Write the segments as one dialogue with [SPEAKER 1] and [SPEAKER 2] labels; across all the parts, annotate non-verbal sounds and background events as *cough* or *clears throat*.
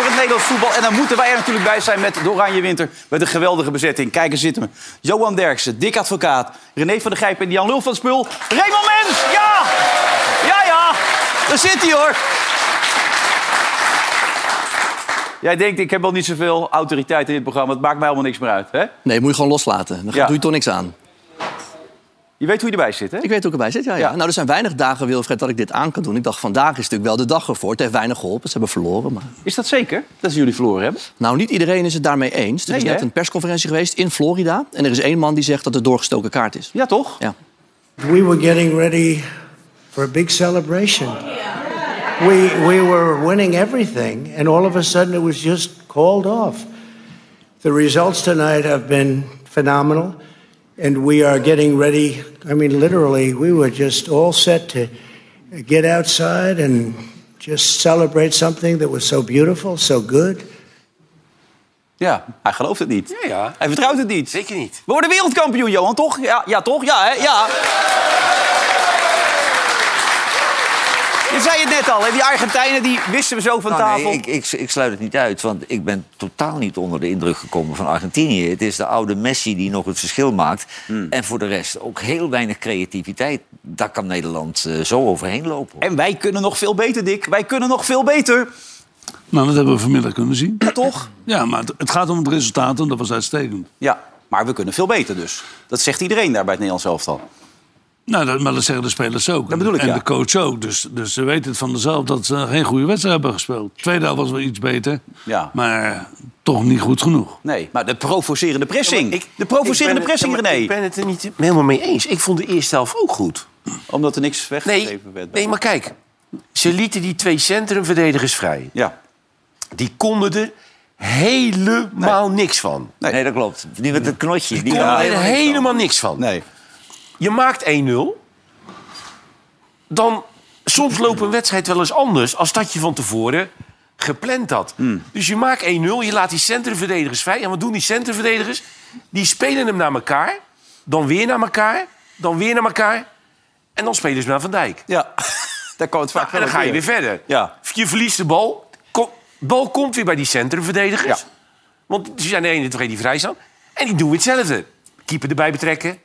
[SPEAKER 1] Nou veel voetbal. En dan moeten wij er natuurlijk bij zijn met de Oranje Winter. Met een geweldige bezetting. Kijk, eens zitten we. Johan Derksen, Dick Advocaat, René van der Gijp en Jan Lul van Spul. Raymond Mens, ja! Ja, ja, daar zit hij hoor. Jij denkt, ik heb al niet zoveel autoriteit in dit programma. Het maakt mij helemaal niks meer uit, hè?
[SPEAKER 2] Nee, moet je gewoon loslaten. Dan
[SPEAKER 1] Ja.
[SPEAKER 2] doe je toch niks aan.
[SPEAKER 1] Je weet hoe je erbij zit, hè?
[SPEAKER 2] Ik weet hoe ik erbij zit, ja, ja.
[SPEAKER 1] Ja.
[SPEAKER 2] Nou, er zijn weinig dagen, Wilfred, dat ik dit aan kan doen. Ik dacht, vandaag is natuurlijk wel de dag ervoor. Het heeft weinig geholpen. Ze hebben verloren, maar...
[SPEAKER 1] Is dat zeker? Dat ze jullie verloren hebben?
[SPEAKER 2] Nou, niet iedereen is het daarmee eens. Er is
[SPEAKER 1] Nee,
[SPEAKER 2] net
[SPEAKER 1] hè?
[SPEAKER 2] een persconferentie geweest in Florida. En er is één man die zegt dat het doorgestoken kaart is.
[SPEAKER 1] Ja, toch?
[SPEAKER 2] Ja.
[SPEAKER 3] We were getting ready for a big celebration. We, we were winning everything, and all of a sudden it was just called off. The results tonight have been phenomenal, and we are getting ready. I mean, literally, we were just all set to get outside and just celebrate something that was so beautiful, so good.
[SPEAKER 1] Ja, hij gelooft het niet.
[SPEAKER 4] Ja, ja.
[SPEAKER 1] Hij vertrouwt het niet.
[SPEAKER 4] Zeker niet.
[SPEAKER 1] We worden wereldkampioen, Johan, toch? Ja, ja toch? Ja, hè? Ja. Je zei het net al, hè? die Argentijnen die wisten we zo van
[SPEAKER 5] Nou,
[SPEAKER 1] tafel.
[SPEAKER 5] nee, ik, ik, ik sluit het niet uit, want ik ben totaal niet onder de indruk gekomen van Argentinië. Het is de oude Messi die nog het verschil maakt.
[SPEAKER 1] Hmm.
[SPEAKER 5] En voor de rest ook heel weinig creativiteit. Daar kan Nederland eh, zo overheen lopen.
[SPEAKER 1] En wij kunnen nog veel beter, Dick. Wij kunnen nog veel beter,
[SPEAKER 6] Nou, dat hebben we vanmiddag kunnen zien.
[SPEAKER 1] toch?
[SPEAKER 6] Ja, maar het, het gaat om het resultaat en dat was uitstekend.
[SPEAKER 1] Ja, maar we kunnen veel beter dus. Dat zegt iedereen daar bij het Nederlands elftal.
[SPEAKER 6] Nou, dat, maar dat zeggen de spelers ook.
[SPEAKER 1] Dat bedoel ik,
[SPEAKER 6] en
[SPEAKER 1] ja.
[SPEAKER 6] de coach ook. Dus, dus ze weten het van zichzelf dat ze geen goede wedstrijd hebben gespeeld. Tweede helft was wel iets beter,
[SPEAKER 1] Ja.
[SPEAKER 6] maar toch niet goed genoeg.
[SPEAKER 1] Nee, maar de provocerende pressing.
[SPEAKER 4] Ik-
[SPEAKER 1] de provocerende
[SPEAKER 4] ik ben het-
[SPEAKER 1] pressing,
[SPEAKER 4] ja, maar
[SPEAKER 1] René.
[SPEAKER 4] Ik ben het er niet helemaal mee eens. Ik vond de eerste helft ook goed.
[SPEAKER 1] Omdat er niks
[SPEAKER 4] Nee,
[SPEAKER 1] weggegeven werd.
[SPEAKER 4] nee, maar kijk. Ze lieten die twee centrumverdedigers vrij.
[SPEAKER 1] Ja.
[SPEAKER 4] Die konden er helemaal niks van.
[SPEAKER 5] nee. dat klopt. Die met het knotje. Die
[SPEAKER 4] Die
[SPEAKER 5] kan
[SPEAKER 4] konden er
[SPEAKER 5] helemaal niks van.
[SPEAKER 4] helemaal niks van.
[SPEAKER 1] Nee.
[SPEAKER 4] Je maakt 1-0. Dan soms loopt een wedstrijd wel eens anders... als dat je van tevoren gepland had. Dus je maakt 1-0, je laat die centrumverdedigers vrij. En wat doen die centrumverdedigers? Die spelen hem naar elkaar. Dan weer naar elkaar. Dan weer naar elkaar. En dan spelen ze naar Van Dijk.
[SPEAKER 1] Ja. daar kwam het vaak
[SPEAKER 4] En dan
[SPEAKER 1] wel
[SPEAKER 4] ga je weer
[SPEAKER 1] weer.
[SPEAKER 4] verder.
[SPEAKER 1] Ja.
[SPEAKER 4] Je verliest de bal. Kom, bal komt weer bij die centrumverdedigers.
[SPEAKER 1] Ja.
[SPEAKER 4] Want ze zijn de ene twee die vrij staan. En die doen weer hetzelfde. Keeper erbij betrekken.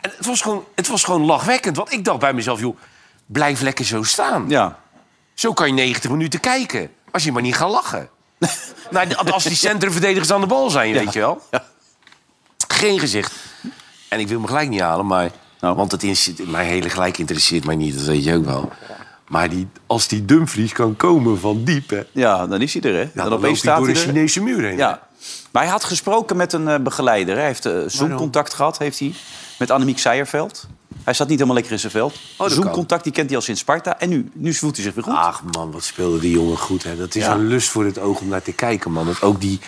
[SPEAKER 4] En het, was gewoon, het was gewoon lachwekkend. Want ik dacht bij mezelf, joh, blijf lekker zo staan.
[SPEAKER 1] Ja.
[SPEAKER 4] Zo kan je 90 minuten kijken. Als je maar niet gaat lachen. *laughs* nou, als die centrumverdedigers aan de bal zijn, weet je wel.
[SPEAKER 1] Ja.
[SPEAKER 4] Geen gezicht. En ik wil me gelijk niet halen, maar...
[SPEAKER 1] Nou.
[SPEAKER 4] Want het inter- mijn hele gelijk interesseert mij niet, dat weet je ook wel. Maar die, als die Dumfries kan komen van diep... Hè,
[SPEAKER 1] Ja, dan is hij er, hè?
[SPEAKER 4] ja,
[SPEAKER 1] dan
[SPEAKER 4] dan
[SPEAKER 1] opeens
[SPEAKER 4] loopt hij
[SPEAKER 1] staat
[SPEAKER 4] door de
[SPEAKER 1] hij er.
[SPEAKER 4] Chinese muur heen.
[SPEAKER 1] Ja. Maar hij had gesproken met een eh, begeleider. hè. Hij heeft eh, Zoom-contact gehad, heeft hij, met Annemiek Seijerveld. Hij zat niet helemaal lekker in zijn
[SPEAKER 6] Oh,
[SPEAKER 1] veld.
[SPEAKER 4] dat
[SPEAKER 1] Zoom-contact, die kent hij al sinds Sparta. En nu, nu voelt hij zich weer goed.
[SPEAKER 6] Ah.
[SPEAKER 4] Ach man, wat speelde die jongen goed. Hè. Dat is
[SPEAKER 1] Ja.
[SPEAKER 4] een lust voor het oog om naar te kijken, man. Dat ook die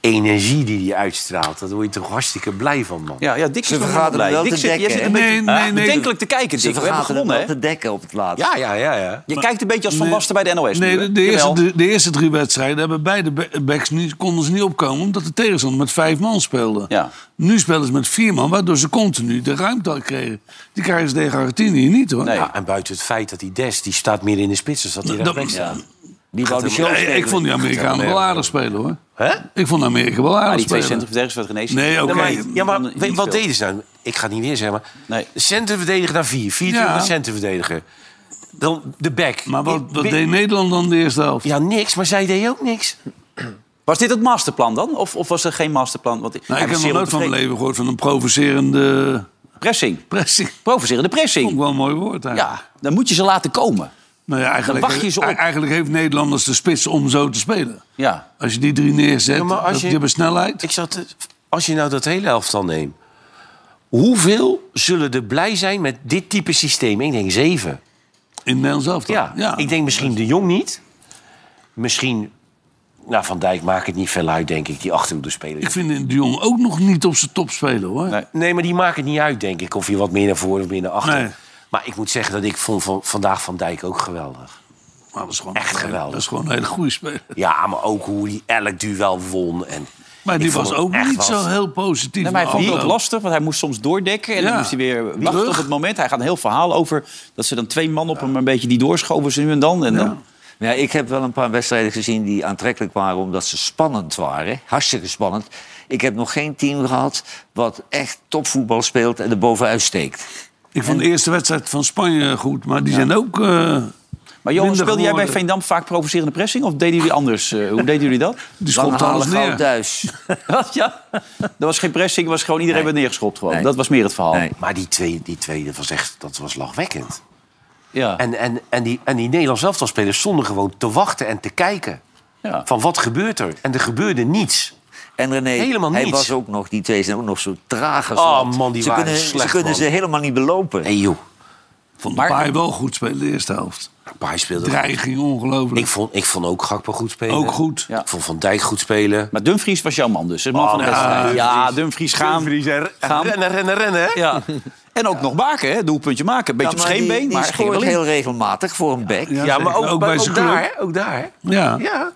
[SPEAKER 4] energie die hij uitstraalt, daar word je toch hartstikke blij van, man.
[SPEAKER 1] Ja, ja, Dick is
[SPEAKER 5] Ze
[SPEAKER 1] nog wel
[SPEAKER 5] vergaderen
[SPEAKER 1] blij.
[SPEAKER 5] wel
[SPEAKER 1] Dick
[SPEAKER 5] te
[SPEAKER 1] zit, jij
[SPEAKER 5] dekken,
[SPEAKER 1] zit
[SPEAKER 5] hè?
[SPEAKER 1] een beetje
[SPEAKER 6] Nee, nee, nee.
[SPEAKER 1] bedenkelijk te kijken,
[SPEAKER 5] Ze
[SPEAKER 1] Dick. We hebben
[SPEAKER 5] vergaten hem
[SPEAKER 1] gewonnen,
[SPEAKER 5] wel
[SPEAKER 1] hè?
[SPEAKER 5] te dekken op het laatst.
[SPEAKER 4] ja, ja, ja. ja.
[SPEAKER 1] Je kijkt een beetje als Van Basten bij de NOS.
[SPEAKER 6] Nee,
[SPEAKER 1] nu,
[SPEAKER 6] de,
[SPEAKER 1] hè?
[SPEAKER 6] de eerste,
[SPEAKER 1] Jawel.
[SPEAKER 6] de, de eerste drie wedstrijden hebben beide be- backs niet, konden ze niet opkomen... omdat de tegenstander met vijf man speelde.
[SPEAKER 1] Ja.
[SPEAKER 6] Nu spelen ze met vier man, waardoor ze continu de ruimte al kregen. Die krijgen ze tegen Argentinië niet, hoor.
[SPEAKER 1] Nee.
[SPEAKER 4] Ja, en buiten het feit dat die Des, die staat meer in de spits... dan dat hij
[SPEAKER 6] Dat-
[SPEAKER 4] rechtsback
[SPEAKER 1] Ah,
[SPEAKER 4] staat.
[SPEAKER 5] Die wou de
[SPEAKER 6] Ja,
[SPEAKER 5] show
[SPEAKER 6] ik vond die Amerikanen wel aardig spelen, hoor.
[SPEAKER 4] Hè?
[SPEAKER 6] Ik vond Amerika wel aardig
[SPEAKER 1] Maar die twee
[SPEAKER 6] spelen.
[SPEAKER 1] centrumverdedigers werd genezen.
[SPEAKER 6] Nee, oké.
[SPEAKER 4] Ja, maar, ja, maar
[SPEAKER 1] Niet
[SPEAKER 4] weet- wat
[SPEAKER 1] veel.
[SPEAKER 4] deden ze nou? Ik ga het niet weer zeggen, maar...
[SPEAKER 1] Nee.
[SPEAKER 4] Centerverdediger naar vier. Vier terug
[SPEAKER 6] Ja.
[SPEAKER 4] naar centerverdediger. Dan de back.
[SPEAKER 6] Maar wat, wat
[SPEAKER 4] Ik-
[SPEAKER 6] deed Nederland dan de eerste helft? Nou,
[SPEAKER 4] Ja, niks, maar zij deed ook niks.
[SPEAKER 1] Was dit het masterplan dan? Of, of was er geen masterplan? Want hij
[SPEAKER 6] Nou,
[SPEAKER 1] was
[SPEAKER 6] ik heb nog
[SPEAKER 1] zeer
[SPEAKER 6] nooit van mijn
[SPEAKER 1] ontevreden.
[SPEAKER 6] leven gehoord van een provocerende *laughs*
[SPEAKER 1] Pressing.
[SPEAKER 6] pressing.
[SPEAKER 1] Provocerende
[SPEAKER 6] Ook
[SPEAKER 1] pressing.
[SPEAKER 6] wel een mooi woord eigenlijk.
[SPEAKER 1] Ja, dan moet je ze laten komen.
[SPEAKER 6] Nou ja, eigenlijk,
[SPEAKER 1] Dan wacht je ze op.
[SPEAKER 6] eigenlijk heeft Nederlanders de spits om zo te spelen.
[SPEAKER 1] Ja.
[SPEAKER 6] Als je die drie neerzet,
[SPEAKER 4] Ja, maar als
[SPEAKER 6] dat-
[SPEAKER 4] je-
[SPEAKER 6] die hebben snelheid.
[SPEAKER 4] Ik zat, te- als je nou dat hele elftal neemt... Hoeveel zullen er blij zijn met dit type systeem? Ik denk zeven.
[SPEAKER 6] In Nederland zelf dan.
[SPEAKER 4] Ja. Ik denk misschien de Jong niet. Misschien... Nou, Van Dijk maakt het niet veel uit, denk ik, die achterhoede speler.
[SPEAKER 6] ik vind de Jong ook nog niet op zijn top spelen, hoor.
[SPEAKER 1] Nee.
[SPEAKER 4] Nee, maar die maakt het niet uit, denk ik. Of je wat meer naar voren of meer naar achter.
[SPEAKER 6] Nee.
[SPEAKER 4] Maar ik moet zeggen dat ik vond van, vandaag Van Dijk ook geweldig.
[SPEAKER 6] Maar dat is gewoon,
[SPEAKER 4] Echt geweldig.
[SPEAKER 6] Dat is gewoon een hele goede speler.
[SPEAKER 4] Ja, maar ook hoe hij elk duel won. En
[SPEAKER 6] Maar die
[SPEAKER 4] ik vond
[SPEAKER 6] was
[SPEAKER 4] hem
[SPEAKER 6] ook
[SPEAKER 4] echt
[SPEAKER 6] niet
[SPEAKER 4] wat.
[SPEAKER 6] zo heel positief.
[SPEAKER 1] Nee, maar hij vond het ook
[SPEAKER 6] afloop.
[SPEAKER 1] lastig, want hij moest soms doordekken. En dan
[SPEAKER 6] Ja.
[SPEAKER 1] moest hij weer wachten
[SPEAKER 6] Terug.
[SPEAKER 1] op het moment. Hij gaat een heel verhaal over dat ze dan twee man op hem een beetje die doorschoven ze nu en dan. En dan
[SPEAKER 5] Maar ja, ik heb wel een paar wedstrijden gezien die aantrekkelijk waren... omdat ze spannend waren. Hartstikke spannend. Ik heb nog geen team gehad wat echt topvoetbal speelt en er bovenuit steekt.
[SPEAKER 6] Ik vond de eerste wedstrijd van Spanje goed, maar die zijn ook. eh
[SPEAKER 1] Maar Johan,
[SPEAKER 6] minder
[SPEAKER 1] speelde jij bij
[SPEAKER 6] geworden.
[SPEAKER 1] Veendam vaak provocerende pressing? Of deden jullie anders? Eh, hoe deden jullie dat?
[SPEAKER 6] Die
[SPEAKER 5] Dan
[SPEAKER 6] schopte alles
[SPEAKER 5] halen
[SPEAKER 6] neer.
[SPEAKER 5] goud thuis.
[SPEAKER 1] Wat, *laughs* ja? Er was geen pressing, er was gewoon iedereen werd neergeschopt. Gewoon.
[SPEAKER 5] Nee.
[SPEAKER 1] Dat was meer het verhaal.
[SPEAKER 5] Nee.
[SPEAKER 4] Maar die twee, die twee dat was echt dat was lachwekkend.
[SPEAKER 1] Ja.
[SPEAKER 4] En, en, en, die, en die Nederlands elftalspelers stonden gewoon te wachten en te kijken.
[SPEAKER 1] Ja.
[SPEAKER 4] Van wat gebeurt er? En er gebeurde niets.
[SPEAKER 5] En René,
[SPEAKER 4] Helemaal
[SPEAKER 5] hij
[SPEAKER 4] niets.
[SPEAKER 5] was ook nog, die twee zijn ook nog zo traag als
[SPEAKER 4] Oh,
[SPEAKER 5] wat.
[SPEAKER 4] man, die
[SPEAKER 5] ze
[SPEAKER 4] waren
[SPEAKER 5] kunnen,
[SPEAKER 4] slecht,
[SPEAKER 5] Ze kunnen
[SPEAKER 4] man.
[SPEAKER 5] ze helemaal niet belopen.
[SPEAKER 4] Nee joh,
[SPEAKER 6] Vond
[SPEAKER 1] Maar-
[SPEAKER 6] Depay wel goed spelen de eerste helft.
[SPEAKER 4] Paai speelde
[SPEAKER 6] Dreiging ongelooflijk.
[SPEAKER 4] Ik vond, ik vond ook Gakpo goed spelen.
[SPEAKER 6] Ook goed.
[SPEAKER 1] Ja.
[SPEAKER 4] Ik vond Van Dijk goed spelen.
[SPEAKER 1] Maar Dumfries was jouw man dus. Het man van de
[SPEAKER 4] ja,
[SPEAKER 1] wedstrijd. Ja, Dumfries gaan. gaan.
[SPEAKER 4] Rennen, rennen, rennen. hè?
[SPEAKER 1] Ja. En ook nog maken, hè? doelpuntje maken. Beetje op
[SPEAKER 5] maar die-
[SPEAKER 1] scheenbeen,
[SPEAKER 5] die
[SPEAKER 1] maar ging
[SPEAKER 5] scoort
[SPEAKER 1] wel in.
[SPEAKER 5] heel regelmatig voor een bek.
[SPEAKER 6] Ja,
[SPEAKER 4] Ja, maar ook,
[SPEAKER 6] zeker. Ook
[SPEAKER 4] maar
[SPEAKER 6] bij
[SPEAKER 4] ook
[SPEAKER 6] zijn club.
[SPEAKER 4] daar. hè? Ook daar. hè?
[SPEAKER 6] Ja.
[SPEAKER 4] Ja.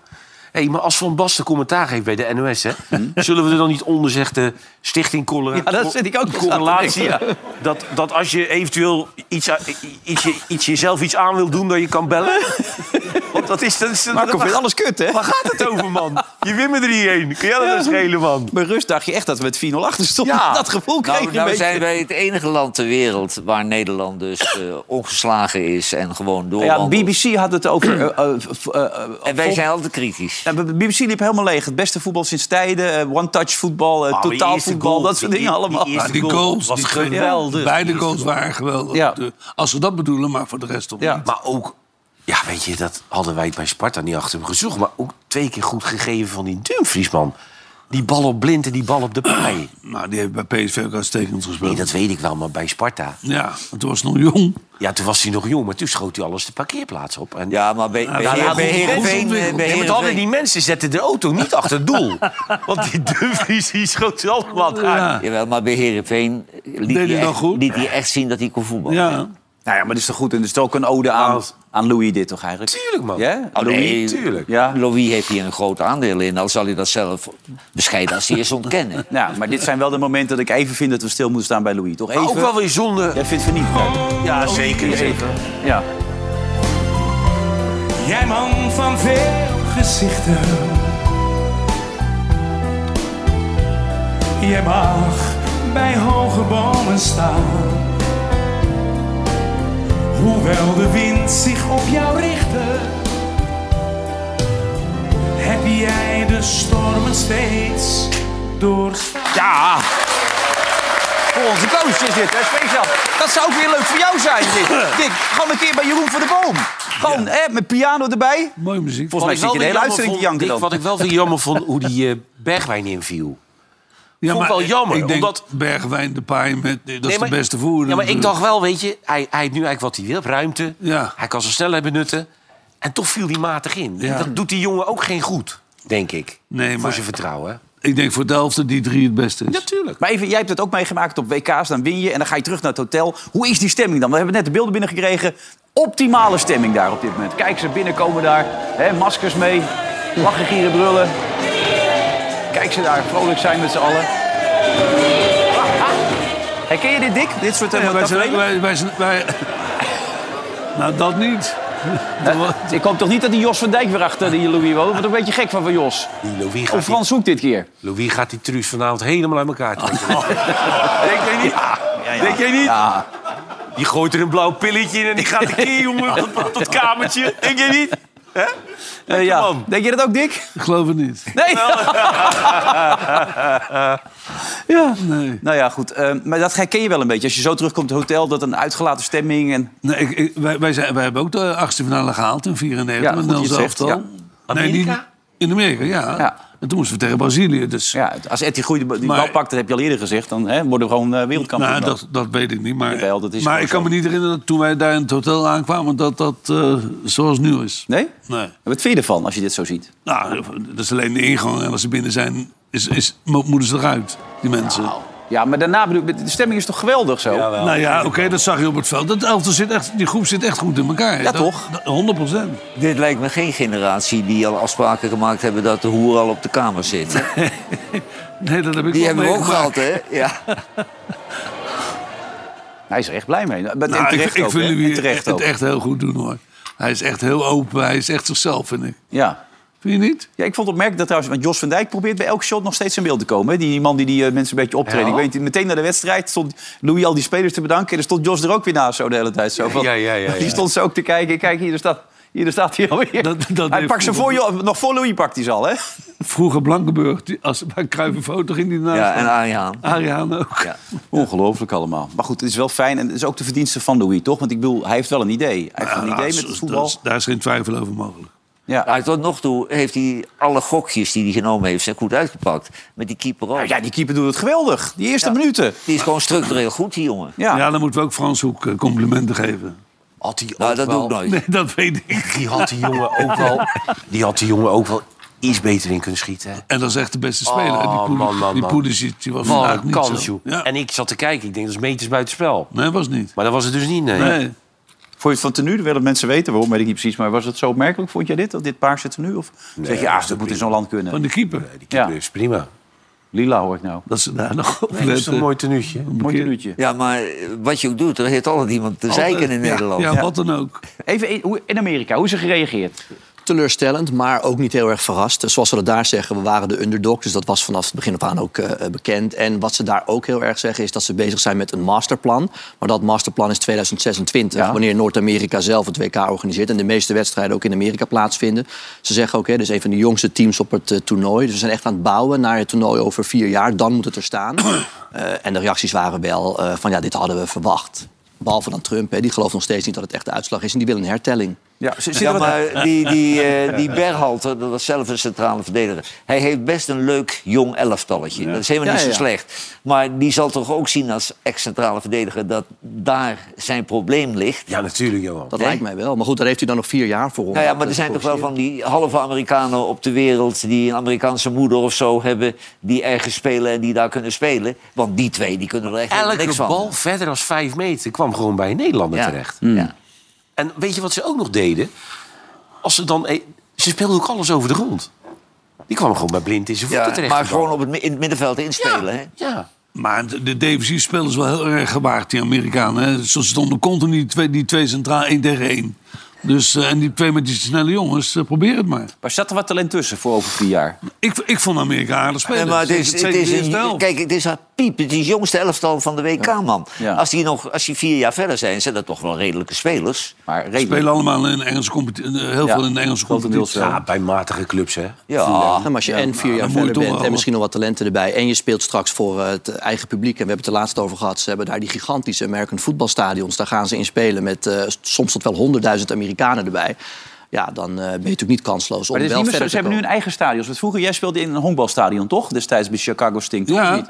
[SPEAKER 4] Hey, maar als Van Basten commentaar geeft bij de NOS, hè, zullen we er dan niet onder zeggen, de Stichting Cholera...
[SPEAKER 1] Hm? Ja, dat zit ik ook eens aan te
[SPEAKER 4] correlatie,
[SPEAKER 1] denken,
[SPEAKER 4] dat, dat als je eventueel iets, aan- iets, iets, jezelf iets aan wil doen, dat je kan bellen. Want dat is... Dat is
[SPEAKER 1] Maar ik
[SPEAKER 4] dat-
[SPEAKER 1] vind het alles kut, hè?
[SPEAKER 4] Waar gaat het over, man? Je wint met 3-1. Kun jij dat eens schelen, man?
[SPEAKER 1] Bij rust dacht je echt dat we met 4-0 achter stonden.
[SPEAKER 4] Ja.
[SPEAKER 1] *laughs* Dat gevoel kreeg
[SPEAKER 5] Nou,
[SPEAKER 1] je een
[SPEAKER 5] nou
[SPEAKER 1] beetje.
[SPEAKER 5] zijn wij het enige land ter wereld waar Nederland dus eh, ongeslagen is en gewoon
[SPEAKER 1] Ja,
[SPEAKER 5] doorwandelt.
[SPEAKER 1] BBC had het *clears throat* over... eh, eh, v- eh, eh,
[SPEAKER 5] en wij
[SPEAKER 1] vol-
[SPEAKER 5] zijn altijd kritisch.
[SPEAKER 1] Ja, de BBC liep helemaal leeg. Het beste voetbal sinds tijden. eh, One-touch voetbal, eh,
[SPEAKER 4] Oh, die
[SPEAKER 1] totaal
[SPEAKER 4] eerste
[SPEAKER 1] voetbal.
[SPEAKER 4] goal.
[SPEAKER 1] Dat soort
[SPEAKER 4] Die-
[SPEAKER 1] dingen
[SPEAKER 4] die- die
[SPEAKER 1] allemaal.
[SPEAKER 4] eerste
[SPEAKER 6] Maar die
[SPEAKER 4] goal
[SPEAKER 6] goals,
[SPEAKER 4] was
[SPEAKER 6] die twee-
[SPEAKER 1] geweldig.
[SPEAKER 6] beide goals waren geweldig.
[SPEAKER 1] Ja.
[SPEAKER 6] De- Als ze dat bedoelen, maar voor de rest toch
[SPEAKER 1] Ja.
[SPEAKER 6] niet.
[SPEAKER 4] Maar ook, ja, weet je, dat hadden wij bij Sparta niet achter hem gezocht. Maar ook twee keer goed gegeven van die Dumfries, man. Die bal op blind en die bal op de paai.
[SPEAKER 6] Nou, die heeft bij PSV ook uitstekend gespeeld.
[SPEAKER 4] Nee, dat weet ik wel, maar bij Sparta.
[SPEAKER 6] Ja, want toen was hij nog jong.
[SPEAKER 4] Ja, toen was hij nog jong, maar toen schoot hij alles de parkeerplaats op. En
[SPEAKER 5] Ja, maar bij, bij,
[SPEAKER 6] nou,
[SPEAKER 5] Heer-
[SPEAKER 6] goed,
[SPEAKER 5] bij Heerenveen...
[SPEAKER 6] goed,
[SPEAKER 5] eh,
[SPEAKER 6] goed.
[SPEAKER 5] bij
[SPEAKER 4] Nee, want alle
[SPEAKER 5] Heerenveen-
[SPEAKER 4] die mensen zetten de auto niet achter het *laughs* doel. Want die Dumfries die schoot ze allemaal uit.
[SPEAKER 6] Ja.
[SPEAKER 5] Jawel, maar bij Heerenveen liet,
[SPEAKER 6] Deed
[SPEAKER 5] hij
[SPEAKER 6] hij dan
[SPEAKER 5] echt-
[SPEAKER 6] goed?
[SPEAKER 5] liet hij echt zien dat hij kon voetballen.
[SPEAKER 6] Ja.
[SPEAKER 1] Nou ja, maar dat is toch goed. En dat is toch ook een ode aan, aan Louis dit toch eigenlijk?
[SPEAKER 4] Tuurlijk, man.
[SPEAKER 1] Ja?
[SPEAKER 5] Oh,
[SPEAKER 1] Louis?
[SPEAKER 5] nee,
[SPEAKER 4] tuurlijk.
[SPEAKER 1] Ja.
[SPEAKER 5] Louis heeft hier een groot aandeel in. Al zal hij dat zelf bescheiden als hij is ontkennen.
[SPEAKER 1] Nou, maar dit zijn wel de momenten dat ik even vind dat we stil moeten staan bij Louis. Toch even?
[SPEAKER 4] Maar ook wel weer zonde.
[SPEAKER 1] Jij vindt het niet. Oh, Kijk.
[SPEAKER 4] Ja, zeker. zeker.
[SPEAKER 1] Ja.
[SPEAKER 7] Jij man van veel gezichten. Je mag bij hoge bomen staan. Hoewel de wind zich op jou richtte, heb jij de stormen steeds doorstaan.
[SPEAKER 1] Ja. Voor onze coach is dit, hè, speciaal. Dat zou ook weer leuk voor jou zijn,
[SPEAKER 4] *laughs*
[SPEAKER 1] dit. Dick, gewoon een keer bij Jeroen van de Boom. Gewoon, hè, met piano erbij.
[SPEAKER 6] Mooie muziek.
[SPEAKER 1] Volgens mij zit je de hele uitzending te janken dan.
[SPEAKER 4] Wat ik wel weer jammer vond, hoe die eh, Bergwijn inviel.
[SPEAKER 6] Ja,
[SPEAKER 4] vond ik wel jammer,
[SPEAKER 6] Ik denk
[SPEAKER 4] omdat-
[SPEAKER 6] Bergwijn, de paai, met, dat is
[SPEAKER 4] Nee,
[SPEAKER 6] de
[SPEAKER 4] maar-
[SPEAKER 6] beste voerder. Dus,
[SPEAKER 4] Ja, maar ik
[SPEAKER 6] natuurlijk.
[SPEAKER 4] dacht wel, weet je, hij, hij heeft nu eigenlijk wat hij wil. Ruimte.
[SPEAKER 6] Ja.
[SPEAKER 4] Hij kan zijn snelheid benutten. En toch viel hij matig in.
[SPEAKER 6] Ja.
[SPEAKER 4] Dat doet die jongen ook geen goed, denk ik.
[SPEAKER 6] Nee,
[SPEAKER 4] Voor
[SPEAKER 6] maar-
[SPEAKER 4] zijn vertrouwen.
[SPEAKER 6] Ik denk voor Delft dat die drie het beste is.
[SPEAKER 4] Natuurlijk.
[SPEAKER 1] Maar even, jij hebt het ook meegemaakt op WK's, dan win je en dan ga je terug naar het hotel. Hoe is die stemming dan? We hebben net de beelden binnengekregen. Optimale stemming daar op dit moment. Kijk ze binnenkomen daar, hè, maskers mee, lachen, gieren, brullen. Kijk ze daar, vrolijk zijn met z'n allen. Ah, ah. Herken je dit, Dick? Dit soort eh,
[SPEAKER 6] Ja, wij, zijn,
[SPEAKER 1] tafereelen?
[SPEAKER 6] wij, wij zijn- wij- *laughs* Nou, dat
[SPEAKER 4] *laughs*
[SPEAKER 6] niet.
[SPEAKER 1] Hè? Ik hoop toch niet dat die Jos van Dijk weer achter die Louis woont? Wordt een beetje gek van van Jos.
[SPEAKER 4] Die Louis
[SPEAKER 1] Of
[SPEAKER 4] gaat, die,
[SPEAKER 1] Frans Hoek dit keer.
[SPEAKER 4] Louis gaat die truus vanavond helemaal uit elkaar trekken.
[SPEAKER 6] Oh.
[SPEAKER 4] Denk jij niet? Denk jij niet? Die gooit er een blauw pilletje in en die gaat een keer, jongen, tot- tot dat kamertje. Denk jij niet?
[SPEAKER 1] Eh, ja.
[SPEAKER 4] man.
[SPEAKER 1] Denk je dat ook, Dick?
[SPEAKER 6] Ik geloof het niet.
[SPEAKER 1] Nee. *laughs*
[SPEAKER 6] Ja, nee.
[SPEAKER 1] Nou ja, goed. eh, maar dat herken je wel een beetje. Als je zo terugkomt het hotel, dat een uitgelaten stemming. En...
[SPEAKER 6] nee ik, ik- wij, wij, zijn, wij hebben ook de achtste finale gehaald in 94.
[SPEAKER 1] Ja,
[SPEAKER 6] en
[SPEAKER 1] goed
[SPEAKER 6] dan
[SPEAKER 1] je het
[SPEAKER 6] zelf
[SPEAKER 1] zegt,
[SPEAKER 6] al.
[SPEAKER 1] ja.
[SPEAKER 4] Amerika?
[SPEAKER 6] in Amerika, ja.
[SPEAKER 1] Ja.
[SPEAKER 6] En toen moesten we tegen Brazilië. Dus,
[SPEAKER 1] Ja, als Etty Goeie die
[SPEAKER 6] Maar-
[SPEAKER 1] bal pakt, dat heb je al eerder gezegd, dan hè, worden we gewoon eh, wereldkampioen.
[SPEAKER 6] nou,
[SPEAKER 1] dan.
[SPEAKER 6] dat, dat weet ik niet. Maar,
[SPEAKER 1] Jawel, dat is
[SPEAKER 6] maar
[SPEAKER 1] gewoon
[SPEAKER 6] ik kan
[SPEAKER 1] zo.
[SPEAKER 6] me niet herinneren dat toen wij daar in het hotel aankwamen... dat dat eh, zoals nu is.
[SPEAKER 1] Nee?
[SPEAKER 6] Nee.
[SPEAKER 1] Wat vind je ervan als je dit zo ziet?
[SPEAKER 6] Nou, dat is alleen de ingang. En als ze binnen zijn, is, is, mo- moeten ze eruit, die mensen.
[SPEAKER 1] Nou, Ja, maar daarna bedoel ik, de stemming is toch geweldig zo?
[SPEAKER 6] Nou ja, oké, dat zag je op het veld. Dat elftal zit echt, die groep zit echt goed in elkaar.
[SPEAKER 1] Ja,
[SPEAKER 6] Dat-
[SPEAKER 1] toch?
[SPEAKER 6] dat- 100 procent.
[SPEAKER 5] Dit lijkt me geen generatie die al afspraken gemaakt hebben dat de hoer al op de kamer zit.
[SPEAKER 6] Nee, dat heb ik
[SPEAKER 5] Die
[SPEAKER 6] wel
[SPEAKER 5] hebben we ook
[SPEAKER 6] meegemaakt.
[SPEAKER 5] gehad, hè? Ja.
[SPEAKER 1] Hij is er echt blij mee. Maar- En
[SPEAKER 6] Nou, ik,
[SPEAKER 1] terecht
[SPEAKER 6] Nou, ik
[SPEAKER 1] ook,
[SPEAKER 6] vind
[SPEAKER 1] hè? En
[SPEAKER 6] Louis
[SPEAKER 1] terecht
[SPEAKER 6] het
[SPEAKER 1] Nou, ook.
[SPEAKER 6] echt heel goed doen, hoor. Hij Hij is echt heel open. Hij is echt zichzelf, vind ik.
[SPEAKER 1] Ja.
[SPEAKER 6] Vind je niet?
[SPEAKER 1] Ja, ik vond het opmerkelijk dat trouwens, want Jos van Dijk probeert bij elk shot nog steeds in beeld te komen. hè. Die man die die eh, mensen een beetje optreedt.
[SPEAKER 4] Ja.
[SPEAKER 1] Ik weet niet, meteen na de wedstrijd stond Louis al die spelers te bedanken. En er stond Jos er ook weer naast zo de hele tijd. Zo, van-
[SPEAKER 4] Ja, ja, ja, ja.
[SPEAKER 1] Die stond ze ook te kijken. Kijk, hier daar staat, hier daar staat hij alweer.
[SPEAKER 6] Dat- dat
[SPEAKER 1] hij
[SPEAKER 6] heeft
[SPEAKER 1] pakt ze voor,
[SPEAKER 6] voetbal.
[SPEAKER 1] Jo- nog voor Louis pakt hij ze al, hè?
[SPEAKER 6] Vroeger Blankenburg, die, als bij Cruijff een foto ging die naast.
[SPEAKER 5] Ja, en Arjen Haan.
[SPEAKER 6] Arie Haan ook.
[SPEAKER 5] Ja.
[SPEAKER 1] Ongelooflijk allemaal. Maar goed, het is wel fijn. En het is ook de verdienste van Louis, toch? Want ik bedoel, hij heeft wel een idee. Hij heeft
[SPEAKER 6] Ja,
[SPEAKER 1] een idee
[SPEAKER 6] dat
[SPEAKER 1] met
[SPEAKER 6] is-
[SPEAKER 1] het voetbal.
[SPEAKER 6] Ah, dat is- daar is geen twijfel over mogelijk.
[SPEAKER 1] Ja.
[SPEAKER 5] Nou, tot nog toe heeft hij alle gokjes die hij genomen heeft zijn goed uitgepakt. Met die keeper ook.
[SPEAKER 1] Nou ja, die keeper doet het geweldig. Die eerste
[SPEAKER 5] Ja.
[SPEAKER 1] minuten.
[SPEAKER 5] Die is gewoon structureel goed, die jongen.
[SPEAKER 1] Ja.
[SPEAKER 6] Ja. dan moeten we ook Frans Hoek eh, complimenten geven.
[SPEAKER 4] Had die
[SPEAKER 5] Nou,
[SPEAKER 4] ook
[SPEAKER 5] dat
[SPEAKER 4] wel-
[SPEAKER 5] doe ik nooit.
[SPEAKER 6] *laughs* Nee, dat weet ik.
[SPEAKER 4] Die had die jongen ook wel. Die had die jongen ook wel iets beter in kunnen schieten. Hè?
[SPEAKER 6] En dat is echt de beste speler. En
[SPEAKER 4] man,
[SPEAKER 6] die Pulisic-
[SPEAKER 4] man,
[SPEAKER 6] die
[SPEAKER 4] man.
[SPEAKER 6] Pulisic, die was
[SPEAKER 4] Wat
[SPEAKER 6] vandaag
[SPEAKER 4] een
[SPEAKER 6] niet
[SPEAKER 4] kans,
[SPEAKER 6] zo.
[SPEAKER 4] joh.
[SPEAKER 6] Ja.
[SPEAKER 4] En ik zat te kijken. Ik denk, dat is meters buitenspel.
[SPEAKER 6] Nee, was niet.
[SPEAKER 4] Maar dat was het dus niet, nee.
[SPEAKER 6] Nee.
[SPEAKER 1] Vond je het van tenue? Dat willen mensen weten waarom, weet ik niet precies. Maar was het zo opmerkelijk? Vond je dit, dat dit paarse tenue? Of zeg je, ah, dat moet in zo'n land kunnen.
[SPEAKER 6] Van de keeper.
[SPEAKER 4] Die keeper
[SPEAKER 1] Ja.
[SPEAKER 4] is prima.
[SPEAKER 1] Lila hoor ik nou.
[SPEAKER 6] Dat ze daar nog op
[SPEAKER 4] Dat is
[SPEAKER 6] letten.
[SPEAKER 4] een mooi tenuutje.
[SPEAKER 1] Mooi tenuutje.
[SPEAKER 5] Ja, maar eh, wat je ook doet, er heeft altijd iemand te zeiken in
[SPEAKER 6] Ja,
[SPEAKER 5] Nederland.
[SPEAKER 6] Ja,
[SPEAKER 1] Ja.
[SPEAKER 6] wat dan ook.
[SPEAKER 1] Even in, hoe- in Amerika, hoe is er gereageerd?
[SPEAKER 2] teleurstellend, maar ook niet heel erg verrast. Dus Zoals ze dat daar zeggen, we waren de underdog. Dus dat was vanaf het begin af aan ook eh, bekend. En wat ze daar ook heel erg zeggen, is dat ze bezig zijn met een masterplan. Maar dat masterplan is 2026,
[SPEAKER 1] Ja.
[SPEAKER 2] wanneer Noord-Amerika zelf het WK organiseert. En de meeste wedstrijden ook in Amerika plaatsvinden. Ze zeggen ook, hè, dit is een van de jongste teams op het eh, toernooi. Dus we zijn echt aan het bouwen naar het toernooi over vier jaar. Dan moet het er staan. Eh, en de reacties waren wel eh, van, ja, dit hadden we verwacht. Behalve dan Trump, hè, die gelooft nog steeds niet dat het echt de uitslag is. En die wil een hertelling.
[SPEAKER 1] Ja, zit
[SPEAKER 5] Ja, maar *laughs* die, die, eh, die Berhalter, dat was zelf een centrale verdediger. Hij heeft best een leuk jong elftalletje. Dat is helemaal
[SPEAKER 2] Ja,
[SPEAKER 5] niet zo
[SPEAKER 2] ja, ja.
[SPEAKER 5] slecht. Maar die zal toch ook zien als ex-centrale verdediger dat daar zijn probleem ligt.
[SPEAKER 4] Ja, natuurlijk, Johan.
[SPEAKER 2] Dat
[SPEAKER 5] Nee.
[SPEAKER 2] lijkt mij wel. Maar goed, daar heeft hij dan nog vier jaar voor. om
[SPEAKER 5] Nou ja,
[SPEAKER 2] dat
[SPEAKER 5] maar er
[SPEAKER 2] te
[SPEAKER 5] zijn toch wel
[SPEAKER 2] corrigeren.
[SPEAKER 5] van die halve Amerikanen op de wereld... die een Amerikaanse moeder of zo hebben... die ergens spelen en die daar kunnen spelen. Want die twee, die kunnen er echt helemaal niks
[SPEAKER 4] Elke
[SPEAKER 5] van.
[SPEAKER 4] bal verder dan vijf meter kwam gewoon bij een Nederlander
[SPEAKER 5] Ja.
[SPEAKER 4] terecht.
[SPEAKER 5] Ja.
[SPEAKER 4] En weet je wat ze ook nog deden? Als ze, dan, eh, ze speelden ook alles over de grond. Die kwam gewoon bij blind in zijn voeten
[SPEAKER 5] Ja,
[SPEAKER 4] terecht.
[SPEAKER 5] maar
[SPEAKER 4] die bal.
[SPEAKER 5] gewoon op het, mi- in het middenveld
[SPEAKER 4] ja,
[SPEAKER 5] inspelen. hè?
[SPEAKER 4] ja.
[SPEAKER 6] Maar de, de defensief spel is wel heel erg gewaagd, die Amerikanen. hè. Ze stonden continu die twee, die twee centraal één tegen één. Dus, eh, en die twee met die snelle jongens, eh, probeer het maar.
[SPEAKER 1] Maar zat er wat talent tussen voor over vier jaar?
[SPEAKER 6] Ik, ik vond Amerika aardig spelen.
[SPEAKER 5] Nee, maar het is,
[SPEAKER 6] Zeker
[SPEAKER 5] het
[SPEAKER 6] de
[SPEAKER 5] is
[SPEAKER 6] eerste
[SPEAKER 5] een,
[SPEAKER 6] helft.
[SPEAKER 5] kijk, het is haar piep. Het is het jongste elftal van de WK, man.
[SPEAKER 1] Ja.
[SPEAKER 5] Als, die nog, als die vier jaar verder zijn, zijn dat toch wel redelijke spelers.
[SPEAKER 1] Maar
[SPEAKER 6] Ze
[SPEAKER 1] redelijk.
[SPEAKER 6] spelen allemaal in de Engelse competitie. Heel
[SPEAKER 1] Ja,
[SPEAKER 6] veel in de Engelse
[SPEAKER 1] grotendeels
[SPEAKER 6] competitie.
[SPEAKER 1] wel.
[SPEAKER 4] ja, bij matige clubs, hè.
[SPEAKER 5] Ja,
[SPEAKER 2] Ja, Nou, maar als je en vier jaar
[SPEAKER 6] dan moet je
[SPEAKER 2] verder
[SPEAKER 6] toch
[SPEAKER 2] bent
[SPEAKER 6] wel-
[SPEAKER 2] en misschien nog wat talenten erbij... en je speelt straks voor eh, het eigen publiek... en we hebben het er laatst over gehad... ze hebben daar die gigantische American voetbalstadions... daar gaan ze in spelen met eh, soms tot wel honderdduizend Amerikanen erbij... Ja, dan eh, ben je natuurlijk niet kansloos om
[SPEAKER 1] Maar dit is
[SPEAKER 2] wel
[SPEAKER 1] niet meer zo-
[SPEAKER 2] verder
[SPEAKER 1] ze
[SPEAKER 2] te
[SPEAKER 1] hebben nu
[SPEAKER 2] komen.
[SPEAKER 1] een eigen stadion. Want vroeger, jij speelde in een honkbalstadion, toch? Destijds bij Chicago Stink. toch? Of
[SPEAKER 6] Ja,
[SPEAKER 1] niet?